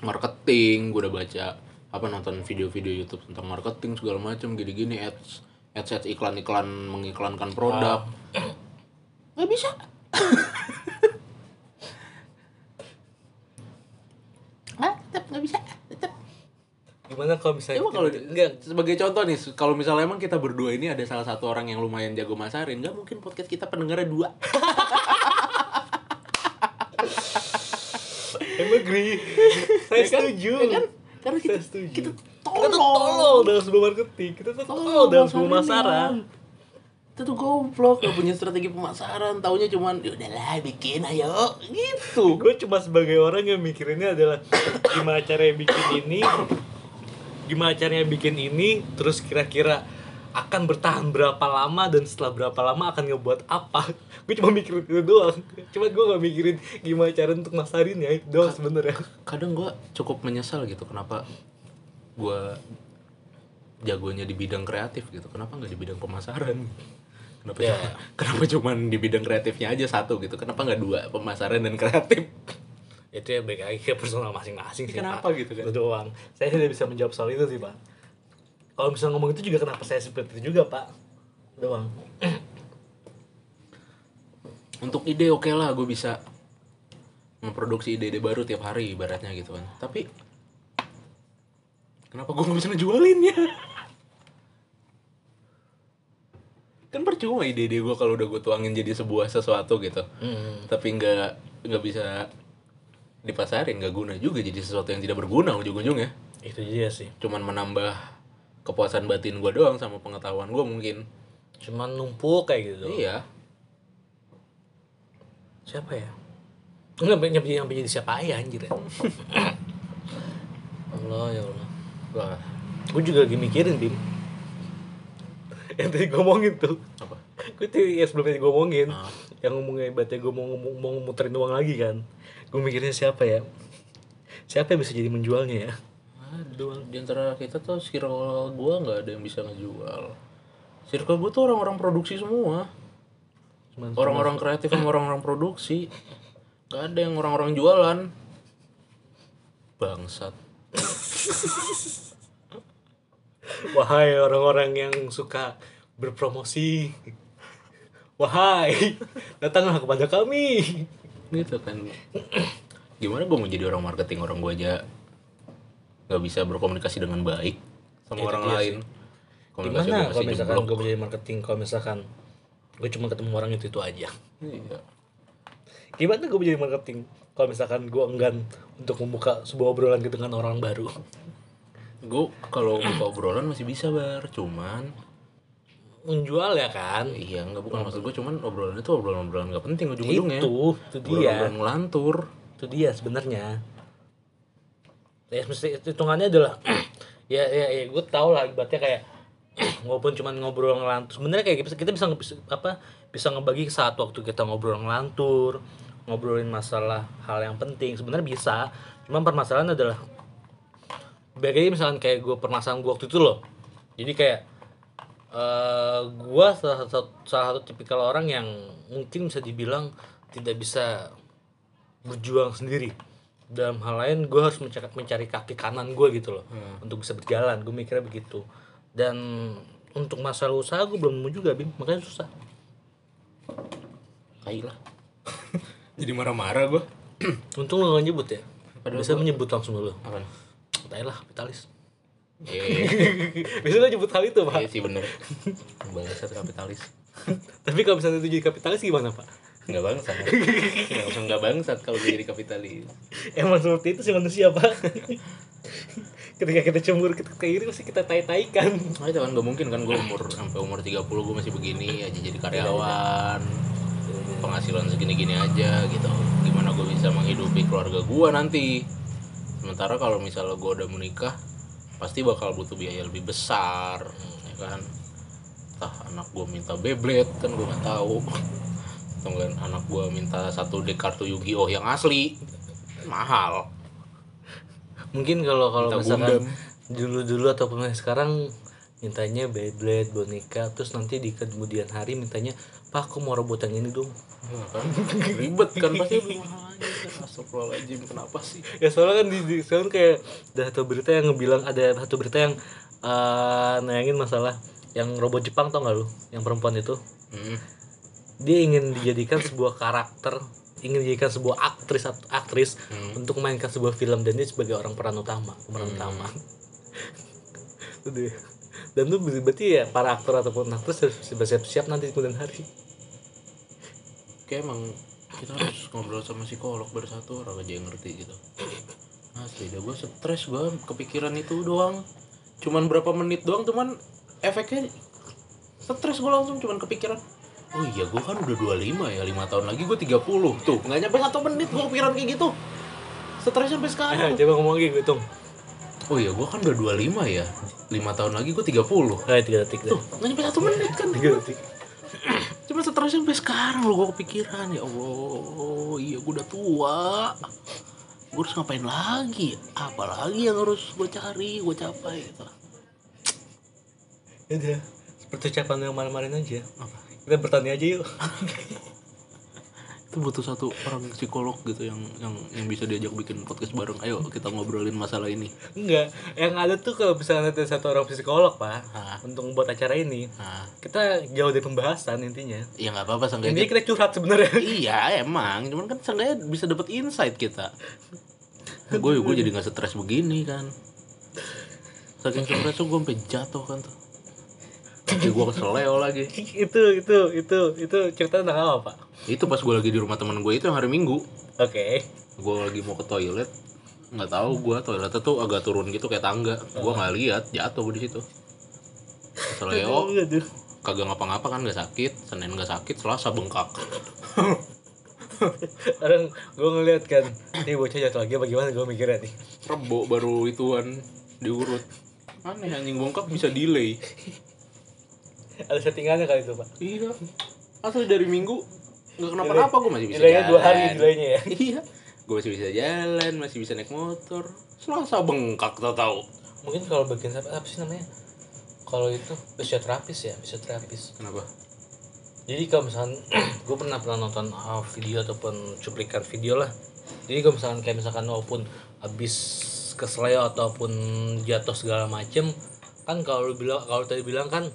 S3: marketing gue udah baca apa nonton video-video YouTube tentang marketing segala macam gini-gini ads ads ads iklan iklan mengiklankan produk Ah. nggak bisa nggak tetap nggak bisa tetap
S2: Gimana Eh, kalau misalnya
S3: Emang kalau
S2: kita- enggak
S3: sebagai contoh nih, kalau misalnya emang kita berdua ini ada salah satu orang yang lumayan jago masarin, nggak mungkin podcast kita pendengarnya dua.
S2: emang agree. Saya setuju.
S3: Ya kan? Karena kita,
S2: Saya setuju.
S3: kita
S2: Kita tuh tolol dalam sebuah marketing. Kita tuh
S3: Oh,
S2: tolol dalam sebuah pemasaran.
S3: Itu tuh goblok, gak punya strategi pemasaran, taunya cuman "Ya udahlah bikin ayo gitu.
S2: Gue cuma sebagai orang yang mikirinnya adalah gimana caranya bikin ini, gimana caranya bikin ini, terus kira-kira akan bertahan berapa lama dan setelah berapa lama akan ngebuat apa gue cuma mikirin itu doang cuma gue gak mikirin gimana cara untuk masarin ya itu doang sebenernya
S3: Kadang gua cukup menyesal gitu kenapa gua jagonya di bidang kreatif gitu. Kenapa nggak di bidang pemasaran? Kenapa
S2: Ya.
S3: cuma- kenapa cuman di bidang kreatifnya aja satu gitu? Kenapa nggak dua pemasaran dan kreatif?
S2: itu ya baik lagi ke personal masing-masing sih
S3: Kenapa
S2: Pak.
S3: gitu kan?
S2: Itu doang saya tidak bisa menjawab soal itu sih pak kalau misalnya ngomong itu juga kenapa saya seperti itu juga pak doang
S3: Untuk ide oke lah gue bisa memproduksi ide-ide baru tiap hari ibaratnya gitu kan. Tapi kenapa gue nggak bisa ngejualin ya? Kan percuma ide-ide gue kalau udah gue tuangin jadi sebuah sesuatu gitu.
S2: Hmm,
S3: Tapi nggak nggak bisa dipasarin nggak guna juga jadi sesuatu yang tidak berguna ujung-ujungnya.
S2: itu dia sih
S3: Cuman menambah kepuasan batin gue doang sama pengetahuan gue mungkin.
S2: cuman numpuk kayak gitu
S3: Iya.
S2: siapa ya nggak nyampe nyampe nyampe jadi siapa ya anjir ya Allah ya Allah
S3: Wah,
S2: gue juga lagi mikirin bim yang tadi gue ngomongin tuh
S3: apa?
S2: gue tuh ya sebelumnya gue ngomongin
S3: Ah.
S2: yang ngomongnya ibaratnya gue mau, ngomong- mau muterin uang lagi kan gue mikirnya siapa ya siapa yang bisa jadi menjualnya ya
S3: Aduh, di antara kita tuh circle gua nggak ada yang bisa ngejual. Circle gua tuh orang-orang produksi semua.
S2: Cuman
S3: Orang-orang kreatif sama orang-orang produksi. Gak ada yang orang-orang jualan. Bangsat.
S2: Wahai orang-orang yang suka berpromosi. Wahai, datanglah kepada kami.
S3: Gitu kan. Gimana gua mau jadi orang marketing orang gua aja nggak bisa berkomunikasi dengan baik sama
S2: Itu
S3: orang
S2: dia
S3: lain.
S2: Gimana kalau
S3: komunikasi
S2: misalkan gue menjadi marketing, kalau misalkan gue cuma ketemu orang itu itu aja.
S3: Iya.
S2: Gimana gue menjadi marketing, kalau misalkan gue enggan untuk membuka sebuah obrolan gitu dengan orang baru.
S3: Gue kalau buka obrolan masih bisa bar, cuman
S2: Menjual ya kan?
S3: Iya, enggak bukan maksud gue cuman obrolannya tuh obrolan-obrolan gak penting ujung-ujungnya.
S2: Itu, itu dia.
S3: Iya, Obrolan ngelantur.
S2: itu dia sebenarnya ya mesti hitungannya adalah ya ya, ya gue tau lah ibaratnya kayak walaupun cuma ngobrol ngelantur sebenarnya kayak gitu, kita bisa bisa- apa bisa ngebagi saat waktu kita ngobrol ngelantur ngobrolin masalah hal yang penting sebenarnya bisa cuman permasalahan adalah bagi misalkan kayak gue permasalahan gue waktu itu loh jadi kayak eh gue salah satu salah satu tipikal orang yang mungkin bisa dibilang tidak bisa berjuang sendiri dalam hal lain gue harus mencari, mencari kaki kanan gue gitu loh untuk bisa berjalan gue mikirnya begitu dan untuk masalah usaha gue belum nemu juga bim makanya susah
S3: Tai lah. Jadi marah-marah gue.
S2: untung lo gak nyebut ya
S3: Padahal
S2: bisa menyebut langsung dulu
S3: Apaan?
S2: Tanya lah kapitalis
S3: Iya
S2: bisa lo nyebut hal itu pak
S3: iya sih bener. Bangsat kapitalis.
S2: tapi kalau misalnya itu jadi kapitalis gimana pak
S3: Enggak bangsat. Langsung enggak bangsat kalau gue jadi kapitalis.
S2: emang seperti itu sih manusia pak ketika kita cemburu ketika iri pasti kita tai-taikan
S3: Nah, itu kan gak mungkin kan gue umur sampai umur 30 gue masih begini aja jadi karyawan. Penghasilan segini-gini aja gitu. Gimana gue bisa menghidupi keluarga gue nanti? Sementara kalau misalnya gue udah menikah pasti bakal butuh biaya lebih besar, ya kan? Entah anak gue minta Beyblade kan gue nggak tahu. Atau kan anak gue minta satu dek kartu Yu-Gi-Oh yang asli mahal.
S2: mungkin kalau kalau
S3: Minta
S2: misalkan
S3: Gundam.
S2: dulu dulu ataupun yang sekarang mintanya Beyblade boneka terus nanti di kemudian hari mintanya pak aku mau robot yang ini dong
S3: Ya kan? Ribet kan pasti lebih mahal aja kan. Astagfirullahaladzim, kenapa sih?
S2: ya soalnya kan di, di soalnya kayak ada satu berita yang ngebilang ada satu berita yang eh nayangin masalah yang robot Jepang tau gak lu yang perempuan itu
S3: Hmm.
S2: dia ingin dijadikan sebuah karakter ingin dijadikan sebuah aktris aktris Hmm. untuk memainkan sebuah film dan dia sebagai orang peran utama pemeran utama Itu dia. dan tuh ber- berarti ya para aktor ataupun aktris harus siap-siap nanti di kemudian hari
S3: Kayak emang kita harus ngobrol sama psikolog baru satu orang aja yang ngerti gitu. Asli dah gue stres gue kepikiran itu doang. Cuman berapa menit doang cuman efeknya stres gue langsung cuman kepikiran. Oh iya gue kan udah 25 ya 5 tahun lagi gue 30 tuh nggak nyampe satu menit gue kepikiran kayak gitu. Stres sampai sekarang.
S2: coba gitu, ngomong lagi gue hitung
S3: Oh iya gue kan udah 25 ya 5 tahun lagi gue 30
S2: Ayo, tiga detik deh
S3: Tuh, nggak nyampe satu menit kan
S2: tiga detik
S3: Cuma stres sampai sekarang lo gue kepikiran Ya Allah, iya gue udah tua Gue harus ngapain lagi Apalagi yang harus gue cari, gue capai gitu
S2: Ya udah seperti ucapan yang kemarin-kemarin aja
S3: Apa?
S2: kita bertanya aja yuk
S3: Itu butuh satu orang psikolog gitu yang yang yang bisa diajak bikin podcast bareng Ayo kita ngobrolin masalah ini
S2: enggak yang ada tuh kalau misalnya ada satu orang psikolog pak
S3: Hah?
S2: untuk membuat acara ini
S3: Nah,
S2: kita jauh dari pembahasan intinya
S3: ya nggak apa-apa
S2: intinya
S3: seenggaknya
S2: kita curhat sebenarnya
S3: Iya emang, cuman kan seenggaknya bisa dapat insight kita Gue gue jadi nggak stres begini kan Saking stres tuh gue sampai jatuh kan tuh Kaki gue keseleo lagi
S2: itu itu itu itu cerita tentang apa pak
S3: itu pas gue lagi di rumah teman gue itu yang hari minggu
S2: oke
S3: gue lagi mau ke toilet nggak tahu gue toiletnya tuh agak turun gitu kayak tangga gue nggak lihat jatuh gue di situ seleo
S2: Aduh.
S3: kagak ngapa-ngapa kan nggak sakit senin nggak sakit selasa bengkak
S2: orang gue ngeliat kan ini bocah jatuh lagi bagaimana gue mikirnya nih
S3: rebo baru ituan diurut aneh anjing bengkak bisa delay
S2: ada settingannya kali itu pak
S3: iya asli dari minggu nggak kenapa-napa gue masih bisa
S2: Delaynya dua hari
S3: jalan.
S2: delaynya ya
S3: iya gue masih bisa jalan masih bisa naik motor selasa bengkak tau tau
S2: mungkin kalau bagian apa, apa sih namanya kalau itu fisioterapis ya fisioterapis
S3: kenapa
S2: jadi kalau misalkan gue pernah pernah nonton uh, video ataupun cuplikan video lah jadi kalau misalkan kayak misalkan walaupun habis kesleo ataupun jatuh segala macem kan kalau lu bilang kalau tadi bilang kan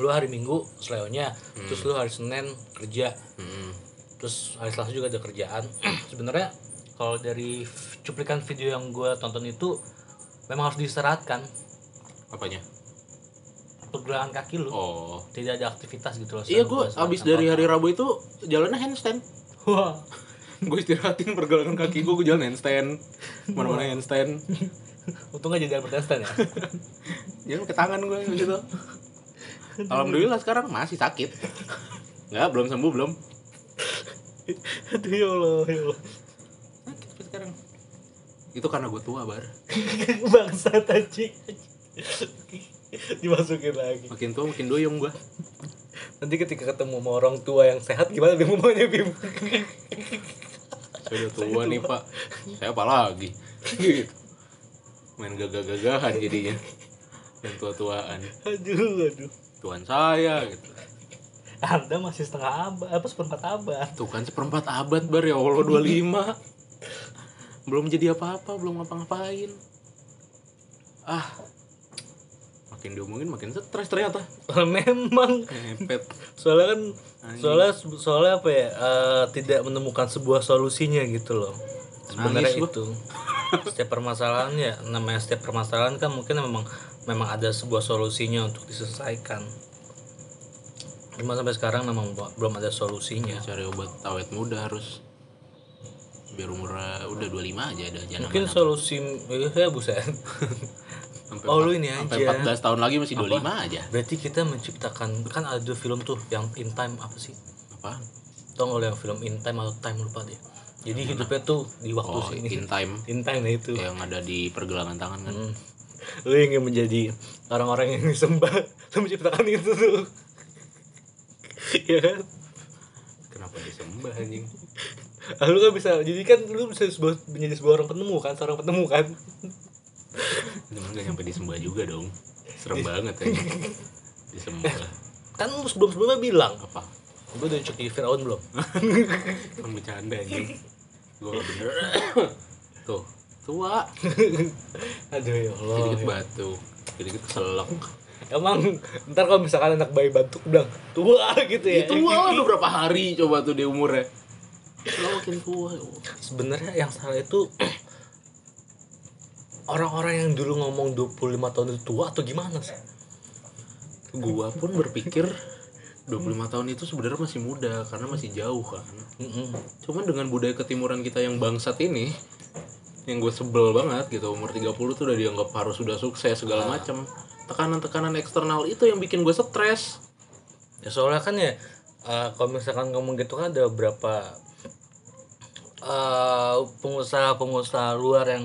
S2: lu hari minggu sleonya terus lu hari senin kerja
S3: Hmm.
S2: terus hari selasa juga ada kerjaan sebenarnya kalau dari v- cuplikan video yang gue tonton itu memang harus diistirahatkan
S3: Apanya?
S2: pergelangan kaki lu
S3: Oh.
S2: tidak ada aktivitas gitu loh
S3: Iya
S2: selain
S3: gue
S2: pergelangan
S3: abis
S2: apa.
S3: dari hari Rabu itu jalannya handstand.
S2: wah
S3: gue istirahatin pergelangan kaki gue, gue jalan handstand. Mana-mana handstand.
S2: untung aja jadi Albert Einstein ya
S3: Jalan ke tangan gue gitu. Alhamdulillah sekarang masih sakit. Enggak, belum sembuh belum.
S2: aduh ya Allah ya Allah
S3: Sakit sampai sekarang. Itu karena gue tua bar.
S2: bangsa tajik dimasukin lagi
S3: Makin tua makin doyong gue.
S2: nanti ketika ketemu sama orang tua yang sehat gimana Bim ngomongnya Bim
S3: Saya udah tua nih pak. Saya apa lagi? Gitu. Main gagah-gagahan jadinya. Yang tua-tuaan.
S2: aduh aduh
S3: Tuan saya gitu.
S2: anda masih setengah abad apa seperempat abad
S3: Tuh kan seperempat abad bar ya Allah 25 Belum jadi apa-apa, belum ngapa-ngapain Ah Makin diomongin makin stres ternyata
S2: memang
S3: Ngepet
S2: soalnya kan
S3: Anjing.
S2: soalnya soalnya apa ya eh, tidak menemukan sebuah solusinya gitu loh sebenarnya
S3: Nangis gua.
S2: itu setiap permasalahan ya namanya setiap permasalahan kan mungkin memang memang ada sebuah solusinya untuk diselesaikan cuma sampai sekarang memang bu- belum ada solusinya
S3: Ya, Cari obat awet muda harus Biar umur uh, udah 25 aja ada jangan
S2: mungkin solusi eh, saya buset
S3: sampai,
S2: oh
S3: empat-
S2: lu ini
S3: sampai
S2: aja
S3: 14 tahun lagi masih 25 aja
S2: berarti kita menciptakan kan ada dua film tuh yang in time apa sih
S3: Apaan?
S2: tau nggak lu yang film in time atau time lupa deh jadi hidupnya tuh di waktu
S3: Oh
S2: sini
S3: in time
S2: in time nah itu
S3: Yang ada di pergelangan tangan kan
S2: Hmm. lu ingin menjadi orang-orang yang disembah lu menciptakan itu tuh ya kan
S3: Kenapa disembah anjing
S2: Ah, lu kan bisa jadi kan lu bisa sebuah, menjadi sebuah orang penemu kan seorang penemu kan
S3: Cuman gak nyampe disembah juga dong Serem banget ya Disembah
S2: kan lu sebelum sebelumnya bilang
S3: Apa?
S2: Gue udah cek di Fir'aun belum?
S3: Kan bercanda anjing. Gua nggak bener. Tuh, tua.
S2: Aduh ya Allah.
S3: Sedikit
S2: ya.
S3: batuk, sedikit keselak.
S2: Emang ntar kalau misalkan anak bayi batuk bilang tua gitu ya.
S3: Itu Iya, tua udah berapa hari coba tuh dia umurnya. Lo makin tua. ya Allah.
S2: Sebenarnya yang salah itu orang-orang yang dulu ngomong 25 tahun itu tua atau gimana sih?
S3: Gua pun berpikir 25 tahun itu sebenarnya masih muda karena masih jauh kan.
S2: Mm-mm.
S3: Cuman dengan budaya ketimuran kita yang bangsat ini yang gue sebel banget gitu umur 30 tuh udah dianggap harus sudah sukses segala macam tekanan-tekanan eksternal itu yang bikin gue stres
S2: Ya soalnya kan ya eh, kalau misalkan ngomong gitu kan ada beberapa eh, pengusaha-pengusaha luar yang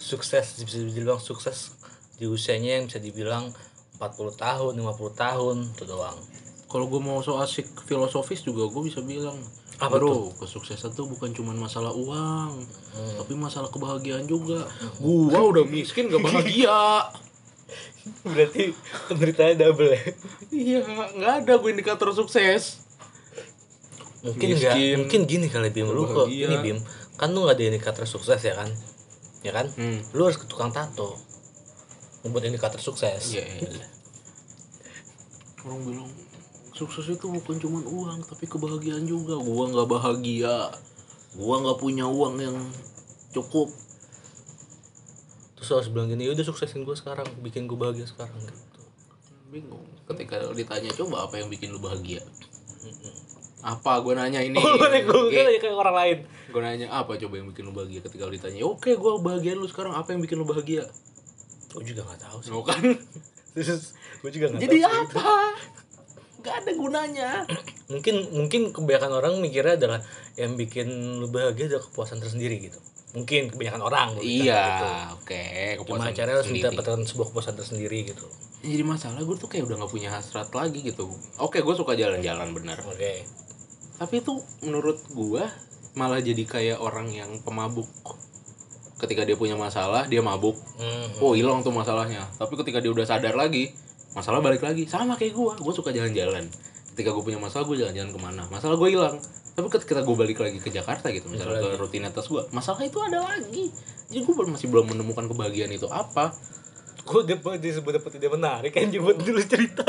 S2: sukses bisa dibilang sukses di usianya yang bisa dibilang 40 tahun, 50 tahun itu doang.
S3: kalau gue mau so asik filosofis juga gue bisa bilang
S2: Apa
S3: bro kesuksesan tuh bukan cuma masalah uang tapi masalah kebahagiaan juga gua udah miskin gak bahagia
S2: Berarti penderitanya double ya.
S3: iya nggak ada gue indikator sukses
S2: Mungkin
S3: Miskin.
S2: enggak, mungkin gini kali Bim lu kok
S3: Kebahagia.
S2: ini Bim. Kan lu nggak ada indikator sukses ya kan? Ya kan?
S3: Hmm.
S2: Lu harus ke tukang tato. Membuat indikator sukses.
S3: iya iya. orang bilang sukses itu bukan cuma uang tapi kebahagiaan juga gua nggak bahagia gua nggak punya uang yang cukup
S2: Terus lu harus bilang gini, "Ya udah suksesin gue sekarang, bikin gue bahagia sekarang." gitu.
S3: bingung ketika ditanya coba apa yang bikin lu bahagia Hmm. apa gue nanya ini
S2: Oh, lu nih, gua-
S3: Oke.
S2: gua nanya kayak orang lain.
S3: gue nanya apa coba yang bikin lu bahagia ketika lu ditanya oke gua bahagia lu sekarang apa yang bikin lu bahagia
S2: Gue juga gak tahu sih.
S3: Lo kan
S2: gue juga gak
S3: jadi
S2: tahu. sih.
S3: apa nggak ada gunanya
S2: Mungkin mungkin kebanyakan orang mikirnya adalah yang bikin lu bahagia adalah kepuasan tersendiri gitu. Mungkin kebanyakan orang gitu.
S3: iya oke
S2: Cuma
S3: kepuasan
S2: caranya harus
S3: sendiri.
S2: mendapatkan sebuah kepuasan tersendiri gitu.
S3: jadi masalah gue tuh kayak udah nggak punya hasrat lagi gitu oke gue suka jalan-jalan bener
S2: Oke.
S3: tapi itu menurut gua malah jadi kayak orang yang pemabuk ketika dia punya masalah dia mabuk
S2: Hmm.
S3: oh hilang tuh masalahnya tapi ketika dia udah sadar lagi masalah balik lagi sama kayak gua gua suka jalan-jalan ketika gua punya masalah gua jalan-jalan kemana masalah gua hilang tapi ketika gua balik lagi ke Jakarta gitu misalnya ke rutinitas gua masalah itu ada lagi jadi gua masih belum menemukan kebahagiaan itu apa
S2: Gue dapat disebut dapat ide menarik kan buat dulu cerita.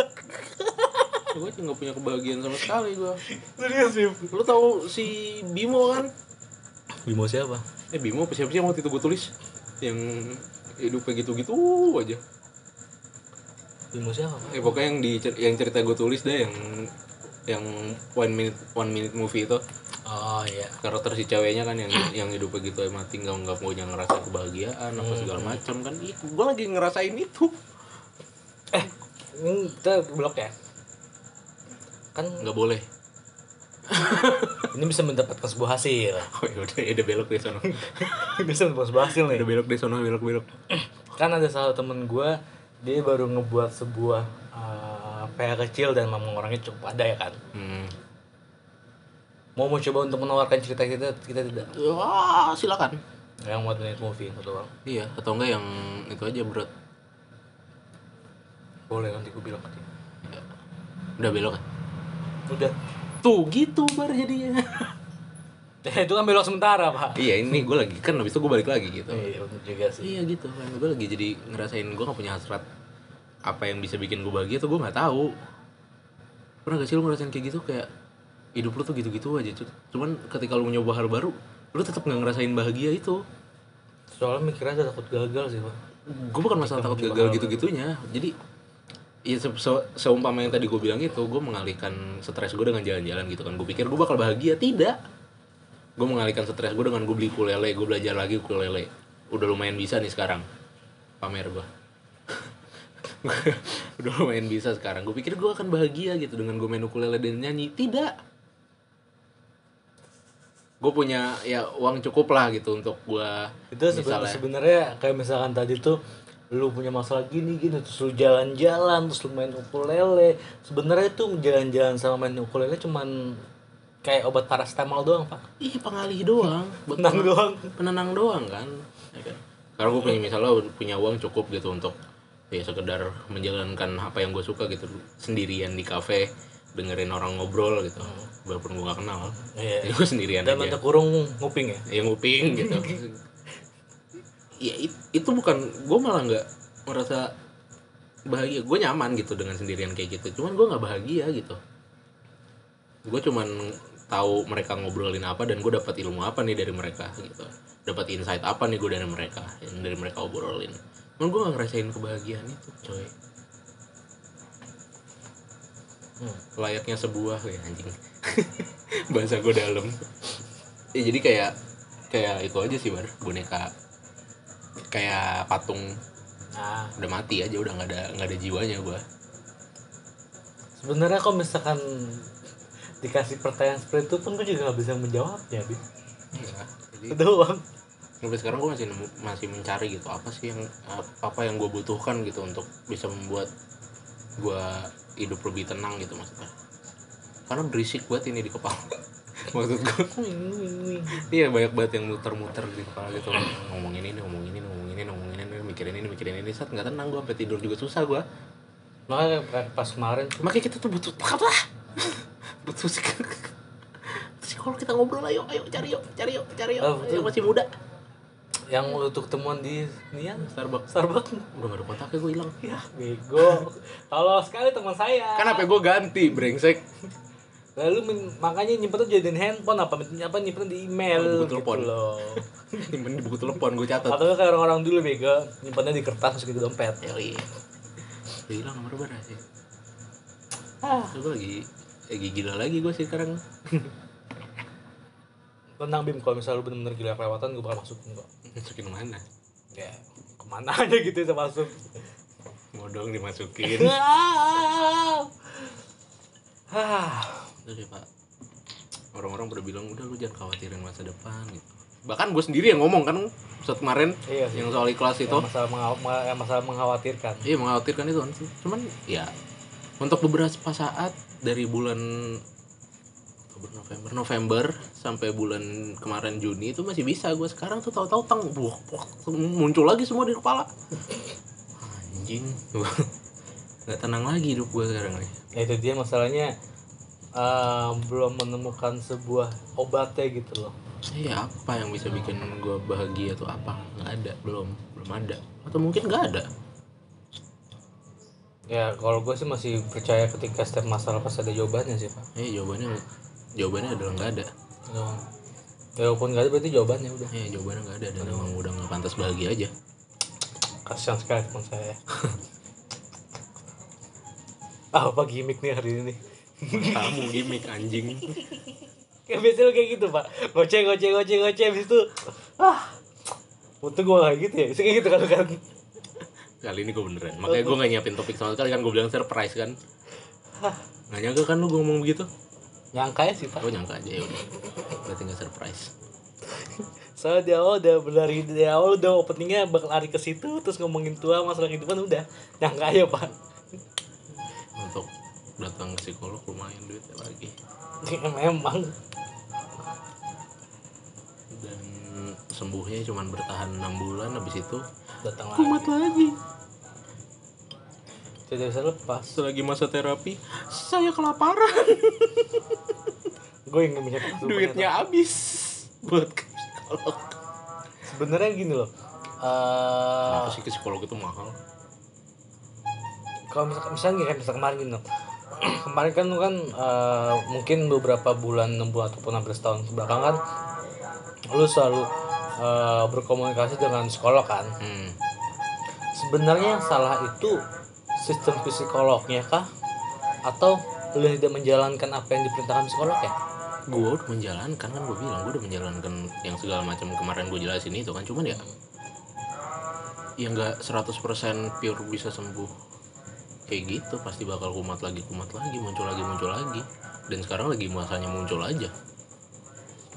S3: gua juga nggak punya kebahagiaan sama sekali gua
S2: Serius sih.
S3: lu tahu si Bimo kan
S2: Bimo siapa?
S3: Eh Bimo apa siapa sih yang waktu itu gue tulis Yang hidupnya gitu-gitu aja
S2: Bimo siapa?
S3: Eh pokoknya yang, di, yang cerita gue tulis deh yang yang one minute one minute movie itu
S2: Oh iya.
S3: karakter si ceweknya kan yang yang hidupnya gitu emang tinggal nggak punya ngerasa kebahagiaan apa segala macam kan Ih, gue lagi ngerasain itu
S2: Eh, ini kita blok ya. Kan
S3: nggak boleh
S2: ini bisa mendapatkan sebuah hasil.
S3: oh ya udah ya udah belok deh sono
S2: bisa mendapatkan sebuah hasil nih.
S3: udah belok deh sono belok belok
S2: kan ada salah temen gue dia baru ngebuat sebuah eh, PR kecil dan memang orangnya cukup ada ya kan
S3: hmm.
S2: mau mau coba untuk menawarkan cerita kita kita tidak
S3: wah Ah, silakan
S2: yang buat minute movie itu doang
S3: iya atau enggak yang itu aja berat
S2: boleh nanti gue bilang ke dia
S3: Ya. udah belok kan
S2: udah
S3: tuh gitu baru jadinya
S2: Eh, itu kan belok sementara pak
S3: iya ini gue lagi kan habis itu gue balik lagi gitu
S2: iya bener juga sih
S3: iya gitu kan gue lagi jadi ngerasain gue gak punya hasrat apa yang bisa bikin gue bahagia tuh gue nggak tahu pernah gak sih lu ngerasain kayak gitu kayak hidup lu tuh gitu-gitu aja Cuk. cuman ketika lu nyoba hal baru lu tetap nggak ngerasain bahagia itu
S2: soalnya mikirnya ada takut gagal sih pak
S3: gue bukan masalah takut gagal gitu-gitunya jadi ya se se- seumpama yang tadi gue bilang itu gue mengalihkan stres gue dengan jalan-jalan gitu kan gue pikir gue bakal bahagia tidak gue mengalihkan stres gue dengan gue beli ukulele gue belajar lagi ukulele udah lumayan bisa nih sekarang pamer gue udah lumayan bisa sekarang gue pikir gue akan bahagia gitu dengan gue main ukulele dan nyanyi tidak gue punya ya uang cukup lah gitu untuk gue
S2: itu sebe- sebenarnya kayak misalkan tadi tuh lu punya masalah gini gini terus lu jalan-jalan terus lu main ukulele sebenarnya tuh jalan-jalan sama main ukulele cuman kayak obat paracetamol doang pak
S3: ih Iya, pengalih doang buat
S2: Tenang doang.
S3: penenang doang kan ya kan? karena gue punya misalnya punya uang cukup gitu untuk ya sekedar menjalankan apa yang gue suka gitu sendirian di kafe dengerin orang ngobrol gitu walaupun gue gak kenal
S2: Iya.
S3: jadi gue sendirian
S2: Dan
S3: aja
S2: mata kurung nguping ya.
S3: yang nguping gitu ya it- itu bukan gue malah nggak merasa bahagia gue nyaman gitu dengan sendirian kayak gitu cuman gue nggak bahagia gitu gue cuman tahu mereka ngobrolin apa dan gue dapat ilmu apa nih dari mereka gitu dapat insight apa nih gue dari mereka yang dari mereka obrolin cuman gue nggak ngerasain kebahagiaan itu coy
S2: Hmm.
S3: layaknya sebuah ya anjing bahasa gue dalam ya, jadi kayak kayak itu aja sih bar boneka kayak patung
S2: Nah,
S3: udah mati aja udah nggak ada nggak ada jiwanya gue
S2: sebenarnya kalau misalkan dikasih pertanyaan seperti itu pun gue juga gak bisa menjawabnya, Bi. Itu
S3: jadi
S2: doang.
S3: sampai sekarang gue masih nemu- masih mencari gitu apa sih yang apa yang gue butuhkan gitu untuk bisa membuat gue hidup lebih tenang gitu maksudnya karena berisik buat ini di kepala maksud gue Iya banyak banget yang muter-muter di kepala gitu ngomongin ini, ngomongin ini, ngomongin ini, ngomongin ini, mikirin ini, mikirin ini, saat nggak tenang gue sampai tidur juga susah gue.
S2: Makanya kan pas kemarin tuh
S3: Makanya kita tuh butuh apa? butuh psikolog. Psikolog kita ngobrol ayo, ayo cari yuk, cari yuk, cari yuk.
S2: Ah, betul.
S3: Ayo, masih muda.
S2: yang untuk temuan di Nian
S3: Starbucks
S2: Starbucks
S3: udah gak ada kontaknya gue hilang.
S2: ya bego halo sekali teman saya
S3: Kan apa gue ganti, brengsek.
S2: lalu men- makanya nyimpennya jadiin handphone apa apa nyimpen di email
S3: Oh, di buku telepon.
S2: gitu loh
S3: Ini di buku telepon gue catat.
S2: atau kayak orang-orang dulu bego nyimpennya di kertas masukin ke dompet
S3: Ya iya. Udah hilang nomor berapa sih?
S2: ah,
S3: Gue lagi lagi gila lagi gue sih sekarang.
S2: tenang bim kalau misalnya lu bener-bener gila kelewatan gue bakal masukin kok
S3: Masukin mana?
S2: ya kemana aja gitu ya masuk
S3: Mau dong dimasukin.
S2: ah
S3: Terus ya pak Orang-orang pada bilang udah lu jangan khawatirin masa depan gitu Bahkan gue sendiri yang ngomong kan Saat kemarin
S2: Iya sih.
S3: yang soal ikhlas itu
S2: yang masalah, menghaw- yang masalah mengkhawatirkan
S3: Iya mengkhawatirkan itu kan. Cuman ya Untuk beberapa saat dari bulan Oktober, November, November sampai bulan kemarin Juni itu masih bisa gue sekarang tuh tahu-tahu tang buah, buah, muncul lagi semua di kepala anjing nggak tenang lagi hidup gue sekarang nih
S2: Nah itu dia masalahnya eh, belum menemukan sebuah obatnya gitu loh.
S3: Iya apa yang bisa bikin gue bahagia tuh apa nggak ada belum belum ada atau mungkin nggak ada
S2: Ya kalau gue sih masih percaya ketika setiap masalah pasti ada jawabannya sih pak.
S3: eh jawabannya jawabannya adalah nggak ada
S2: Ya, Walaupun gak ada berarti jawabannya udah.
S3: eh jawabannya nggak ada dan emang udah nggak pantas bahagia aja
S2: Kasihan sekali teman saya. ah, apa gimmick nih hari ini?
S3: kamu gimmick anjing
S2: Kayak biasanya lu kayak gitu pak. Goceh, goceh, goceh, goceh. Habis itu, ah, untung gue kayak gitu ya. Bisa kayak gitu kan kan.
S3: kali ini gue beneran makanya gue nggak nyiapin topik sama sekali kan gue bilang surprise kan nggak nyangka kan lu gue ngomong begitu
S2: Nyangka ya sih pak.
S3: gue nyangka aja ya udah berarti nggak surprise
S2: Soalnya di awal udah berlari di awal udah openingnya bakal lari ke situ terus ngomongin tua masalah kehidupan udah nyangka ya pak
S3: untuk datang ke psikolog lumayan duit ya lagi
S2: Iya, memang
S3: dan sembuhnya cuman bertahan enam bulan habis itu
S2: datang lagi
S3: kumat lagi
S2: tidak bisa lepas
S3: selagi masa terapi saya kelaparan
S2: gue yang minyak itu,
S3: duitnya habis buat ke psikolog
S2: Pak. sebenarnya gini loh Eh,
S3: apa sih Ah, ke psikolog itu mahal
S2: kalau misalkan misalnya gini, kayak misalkan kemarin gini loh kemarin kan lu kan eh, mungkin beberapa bulan enam bulan ataupun hampir setahun kebelakang kan lu selalu eh, berkomunikasi dengan psikolog kan
S3: hmm.
S2: sebenarnya yang salah itu sistem psikolognya kah atau lu yang tidak menjalankan apa yang diperintahkan psikolog ya
S3: gue udah menjalankan kan gue bilang gue udah menjalankan yang segala macam kemarin gue jelasin itu kan cuman ya ya nggak 100% pure bisa sembuh kayak gitu pasti bakal kumat lagi kumat lagi muncul lagi muncul lagi dan sekarang lagi masanya muncul aja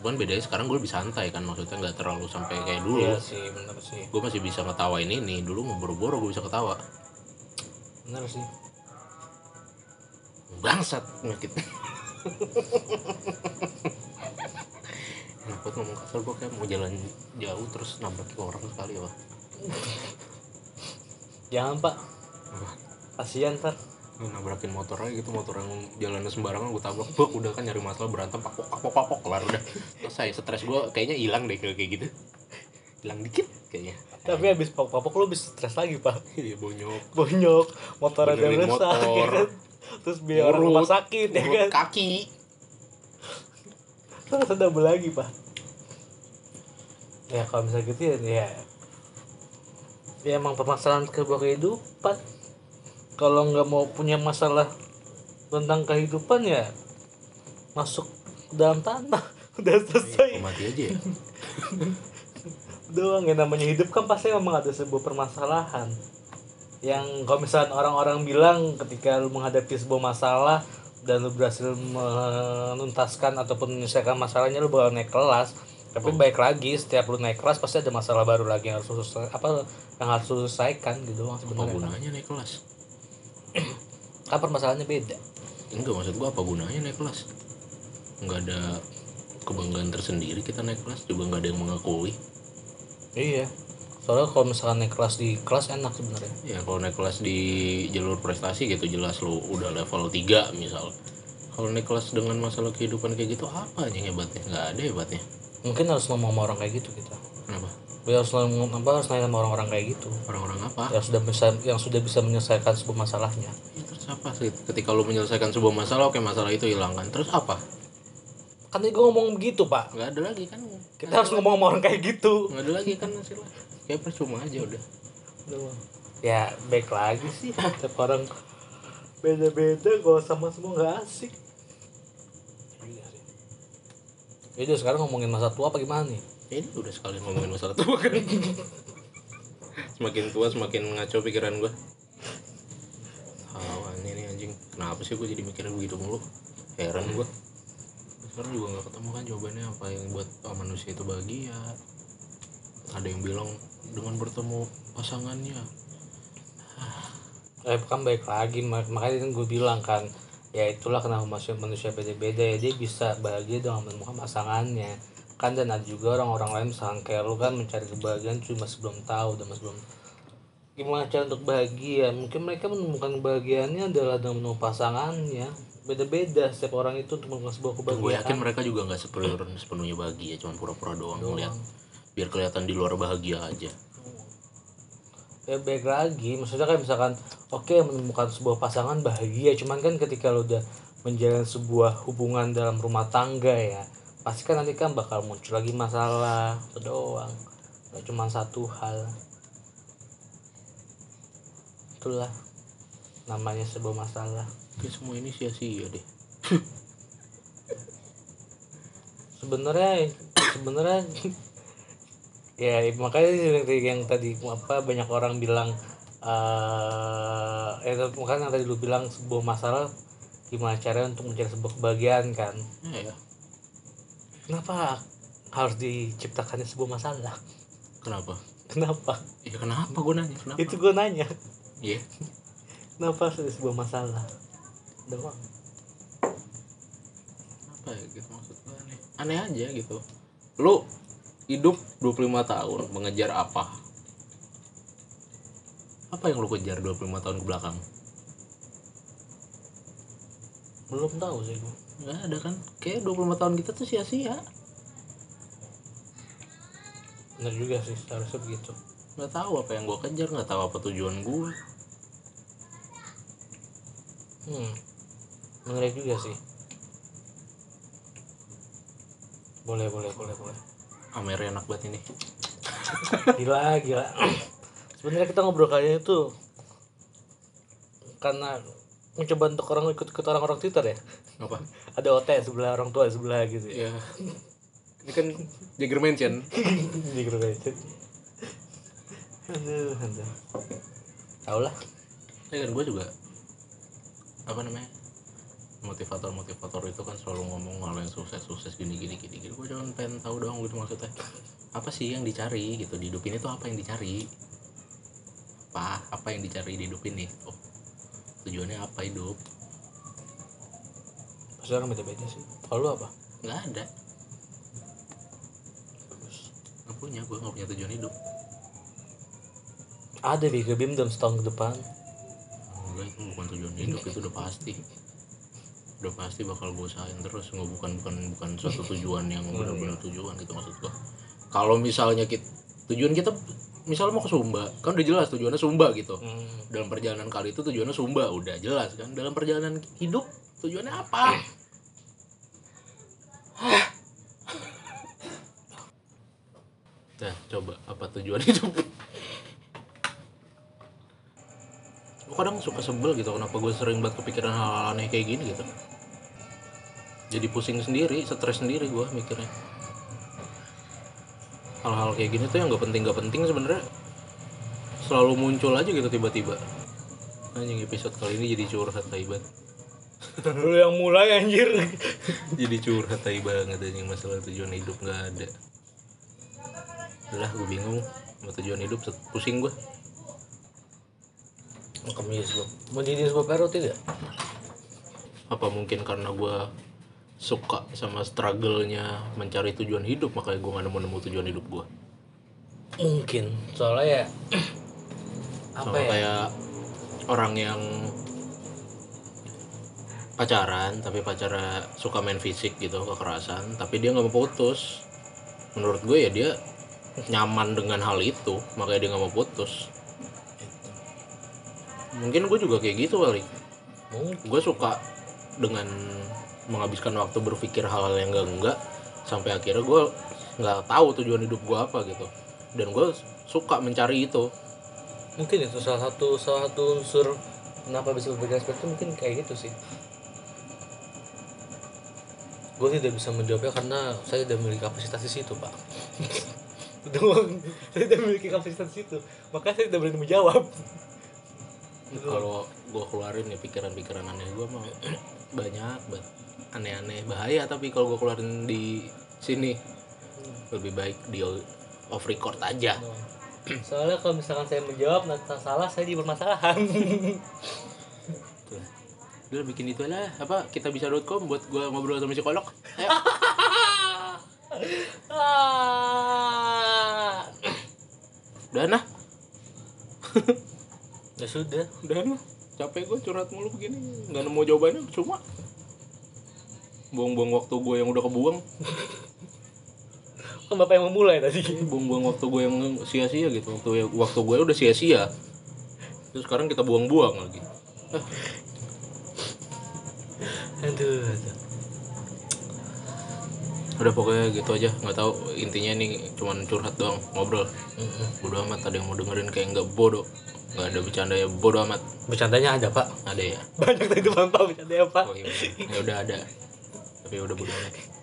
S3: cuman bedanya sekarang gue lebih santai kan maksudnya nggak terlalu sampai kayak dulu
S2: Iya sih bener sih
S3: gue masih bisa ngetawain ini dulu ngeboro-boro gue bisa ketawa
S2: bener sih
S3: bangsat penyakit Enak banget ngomong kasar gue kayak mau jalan jauh terus nabrak ke orang sekali ya Pak.
S2: jangan pak
S3: Apa?
S2: kasihan ntar
S3: Gua nabrakin motor aja gitu motor yang jalannya sembarangan gue tabrak Bek, udah kan nyari masalah berantem pakok pakok pakok kelar udah selesai stres gue kayaknya hilang deh kayak kayak gitu hilang dikit kayaknya
S2: Tapi habis papok-papok lu habis stres lagi, Pak.
S3: iya bonyok
S2: Bonyok, motor ada
S3: Benerin
S2: rusak, ya
S3: motor.
S2: kan? Terus biar orang
S3: Urut.
S2: rumah sakit, ya
S3: Urut
S2: kan?
S3: kaki
S2: Terus ada apa lagi, Pak? Ya kalau misalnya gitu ya, ya, ya emang permasalahan ke kehidupan. Kalau nggak mau punya masalah tentang kehidupan ya masuk ke dalam tanah udah
S3: Oh,
S2: selesai
S3: mati aja ya
S2: doang yang namanya hidup kan pasti memang ada sebuah permasalahan yang kalau misalnya orang-orang bilang ketika lu menghadapi sebuah masalah dan lu berhasil menuntaskan ataupun menyelesaikan masalahnya lu bakal naik kelas tapi baik lagi setiap lu naik kelas pasti ada masalah baru lagi yang harus lu selesai, apa yang harus lu selesaikan gitu doang
S3: apa
S2: sebenarnya
S3: gunanya naik kelas
S2: kan permasalahannya beda
S3: enggak maksud gua apa gunanya naik kelas nggak ada kebanggaan tersendiri kita naik kelas juga nggak ada yang mengakui
S2: iya soalnya kalau misalnya naik kelas di kelas enak sebenarnya
S3: ya kalau naik kelas di jalur prestasi gitu jelas lo udah level 3 misal kalau naik kelas dengan masalah kehidupan kayak gitu apa yang hebatnya nggak ada hebatnya
S2: mungkin harus ngomong sama orang kayak gitu kita
S3: kenapa
S2: ya harus ngomong apa harus nanya sama orang-orang kayak gitu
S3: orang-orang apa
S2: yang sudah bisa yang sudah bisa menyelesaikan sebuah masalahnya
S3: ya, terus apa sih ketika lo menyelesaikan sebuah masalah oke masalah itu hilangkan terus apa
S2: kan tadi gue ngomong begitu pak
S3: nggak ada lagi kan
S2: kita harus ngomong sama orang kayak gitu
S3: nggak ada lagi kan hasilnya kayak percuma aja udah
S2: ya baik lagi sih setiap orang beda-beda kalau sama semua nggak asik Iya Jadi sekarang ngomongin masa tua apa gimana nih?
S3: Ya, ini udah sekalian ngomongin masalah tua kan semakin tua semakin ngaco pikiran gua Awan ini anjing kenapa sih gua jadi mikirnya begitu mulu heran gua sekarang juga nggak ketemu kan jawabannya apa yang buat oh, manusia itu bahagia ada yang bilang dengan bertemu pasangannya
S2: Eh, kan baik lagi mak- makanya kan gue bilang kan ya itulah kenapa manusia manusia beda-beda ya dia bisa bahagia dengan menemukan pasangannya kan dan ada juga orang-orang lain misalkan kayak lu kan mencari kebahagiaan cuma sebelum tahu dan masih belum gimana cara untuk bahagia mungkin mereka menemukan kebahagiaannya adalah dengan menemukan pasangannya beda-beda setiap orang itu untuk menemukan sebuah
S3: gue yakin
S2: kebahagiaan
S3: mereka juga nggak sepenuhnya sepenuhnya bahagia cuman pura-pura kan? doang ngeliat biar kelihatan di luar bahagia aja
S2: ya baik lagi maksudnya kayak misalkan oke menemukan sebuah pasangan bahagia cuman kan ketika lo udah menjalin sebuah hubungan dalam rumah tangga ya pasti kan nanti kan bakal muncul lagi masalah itu doang gak cuma satu hal itulah namanya sebuah masalah
S3: Oke Ya, semua ini sia-sia deh
S2: sebenarnya sebenarnya ya makanya seperti yang tadi apa banyak orang bilang eh ya makanya yang tadi lu bilang sebuah masalah gimana caranya untuk mencari sebuah kebahagiaan kan
S3: ya, ya.
S2: kenapa harus diciptakannya sebuah masalah
S3: kenapa
S2: kenapa
S3: Ya kenapa gue nanya kenapa?
S2: itu gue nanya
S3: Iya.
S2: kenapa harus ada sebuah masalah doang
S3: Kenapa ya gitu maksud gue aneh. Aneh aja gitu. Lu hidup 25 tahun mengejar apa? Apa yang lu kejar 25 tahun ke belakang?
S2: belum tahu sih gue
S3: Enggak ada kan. Kayak 25 tahun kita tuh sia-sia.
S2: bener juga sih seharusnya begitu
S3: Enggak tahu apa yang gua kejar, enggak tahu apa tujuan gua.
S2: Hmm. Menarik juga sih. Boleh, boleh, boleh, boleh.
S3: Amer enak banget ini.
S2: Gila, gila. Sebenarnya kita ngobrol kali ini tuh karena mencoba untuk orang ikut ikut orang-orang Twitter ya.
S3: Apa?
S2: Ada OT sebelah orang tua sebelah gitu ya.
S3: Ya. Ini kan Jagger Mansion.
S2: Jadi grup aja. Aduh, aduh. Tahu lah.
S3: Ya kan gue juga apa namanya motivator-motivator itu kan selalu ngomong hal yang sukses-sukses gini gini gini gini gue cuma pengen tahu doang gitu maksudnya apa sih yang dicari gitu di hidup ini tuh apa yang dicari apa apa yang dicari di hidup ini oh tujuannya apa hidup
S2: Pasti orang beda-beda sih. Kalau lu apa?
S3: nggak ada nggak punya gue nggak punya tujuan hidup
S2: Ada Big Bim dalam setahun ke depan.
S3: Hmm, enggak itu bukan tujuan hidup itu udah pasti udah pasti bakal gue usahain terus nggak bukan bukan bukan suatu tujuan yang benar-benar tujuan gitu maksud gue kalau misalnya kita tujuan kita misalnya mau ke Sumba kan udah jelas tujuannya Sumba gitu
S2: Hmm.
S3: dalam perjalanan kali itu tujuannya Sumba udah jelas kan dalam perjalanan hidup tujuannya apa nah coba apa tujuan hidup gue kadang suka sebel gitu kenapa gue sering banget kepikiran hal, -hal aneh kayak gini gitu jadi pusing sendiri stres sendiri gue mikirnya hal-hal kayak gini tuh yang gak penting gak penting sebenarnya selalu muncul aja gitu tiba-tiba anjing episode kali ini jadi curhat tai banget
S2: Lu yang mulai anjir.
S3: jadi curhat tai banget anjing masalah tujuan hidup nggak ada udah gue bingung sama tujuan hidup set- pusing gue
S2: Kemis gua. Mau jadi sebuah perut ya? tidak?
S3: apa mungkin karena gue suka sama struggle-nya mencari tujuan hidup makanya gue gak nemu-nemu tujuan hidup gue
S2: Mungkin. Soalnya ya apa
S3: sama
S2: ya?
S3: kayak orang yang pacaran tapi pacara suka main fisik gitu kekerasan tapi dia nggak mau putus menurut gue ya dia nyaman dengan hal itu makanya dia nggak mau putus mungkin gue juga kayak gitu kali
S2: Mungkin.
S3: gue suka dengan menghabiskan waktu berpikir hal-hal yang enggak enggak sampai akhirnya gue nggak tahu tujuan hidup gue apa gitu dan gue suka mencari itu
S2: Mungkin itu salah satu salah satu unsur kenapa bisa berpikiran seperti itu mungkin kayak gitu sih. Gue tidak bisa menjawabnya karena saya tidak memiliki kapasitas di situ, Pak. Doang. saya tidak memiliki kapasitas di situ. Makanya saya tidak berani menjawab.
S3: kalau gue keluarin ya pikiran-pikiran aneh gue mah banyak banget aneh-aneh bahaya tapi kalau gue keluarin di sini lebih baik di off record aja
S2: Soalnya kalau misalkan saya menjawab nanti salah saya di permasalahan.
S3: Tuh. Udah bikin itu lah apa kita bisa.com buat gue ngobrol sama psikolog ayo
S2: Ah.
S3: udah nah
S2: ya sudah.
S3: udah nah capek gue curhat mulu begini nggak nemu jawabannya cuma buang-buang waktu gue yang udah kebuang
S2: Kan Bapak yang memulai tadi.
S3: buang-buang waktu gue yang sia-sia gitu waktu waktu gue udah sia-sia terus sekarang kita buang-buang lagi Eh,
S2: Aduh, aduh.
S3: udah pokoknya gitu aja nggak tahu intinya ini cuman curhat doang ngobrol bodoh amat ada yang mau dengerin kayak nggak bodoh nggak ada bercanda ya bodoh amat
S2: Bercandanya ada, Pak.
S3: ada ya
S2: Banyak tadi Bapak bercandanya, Pak.
S3: oh, iya. ya udah ada tapi udah bodoh amat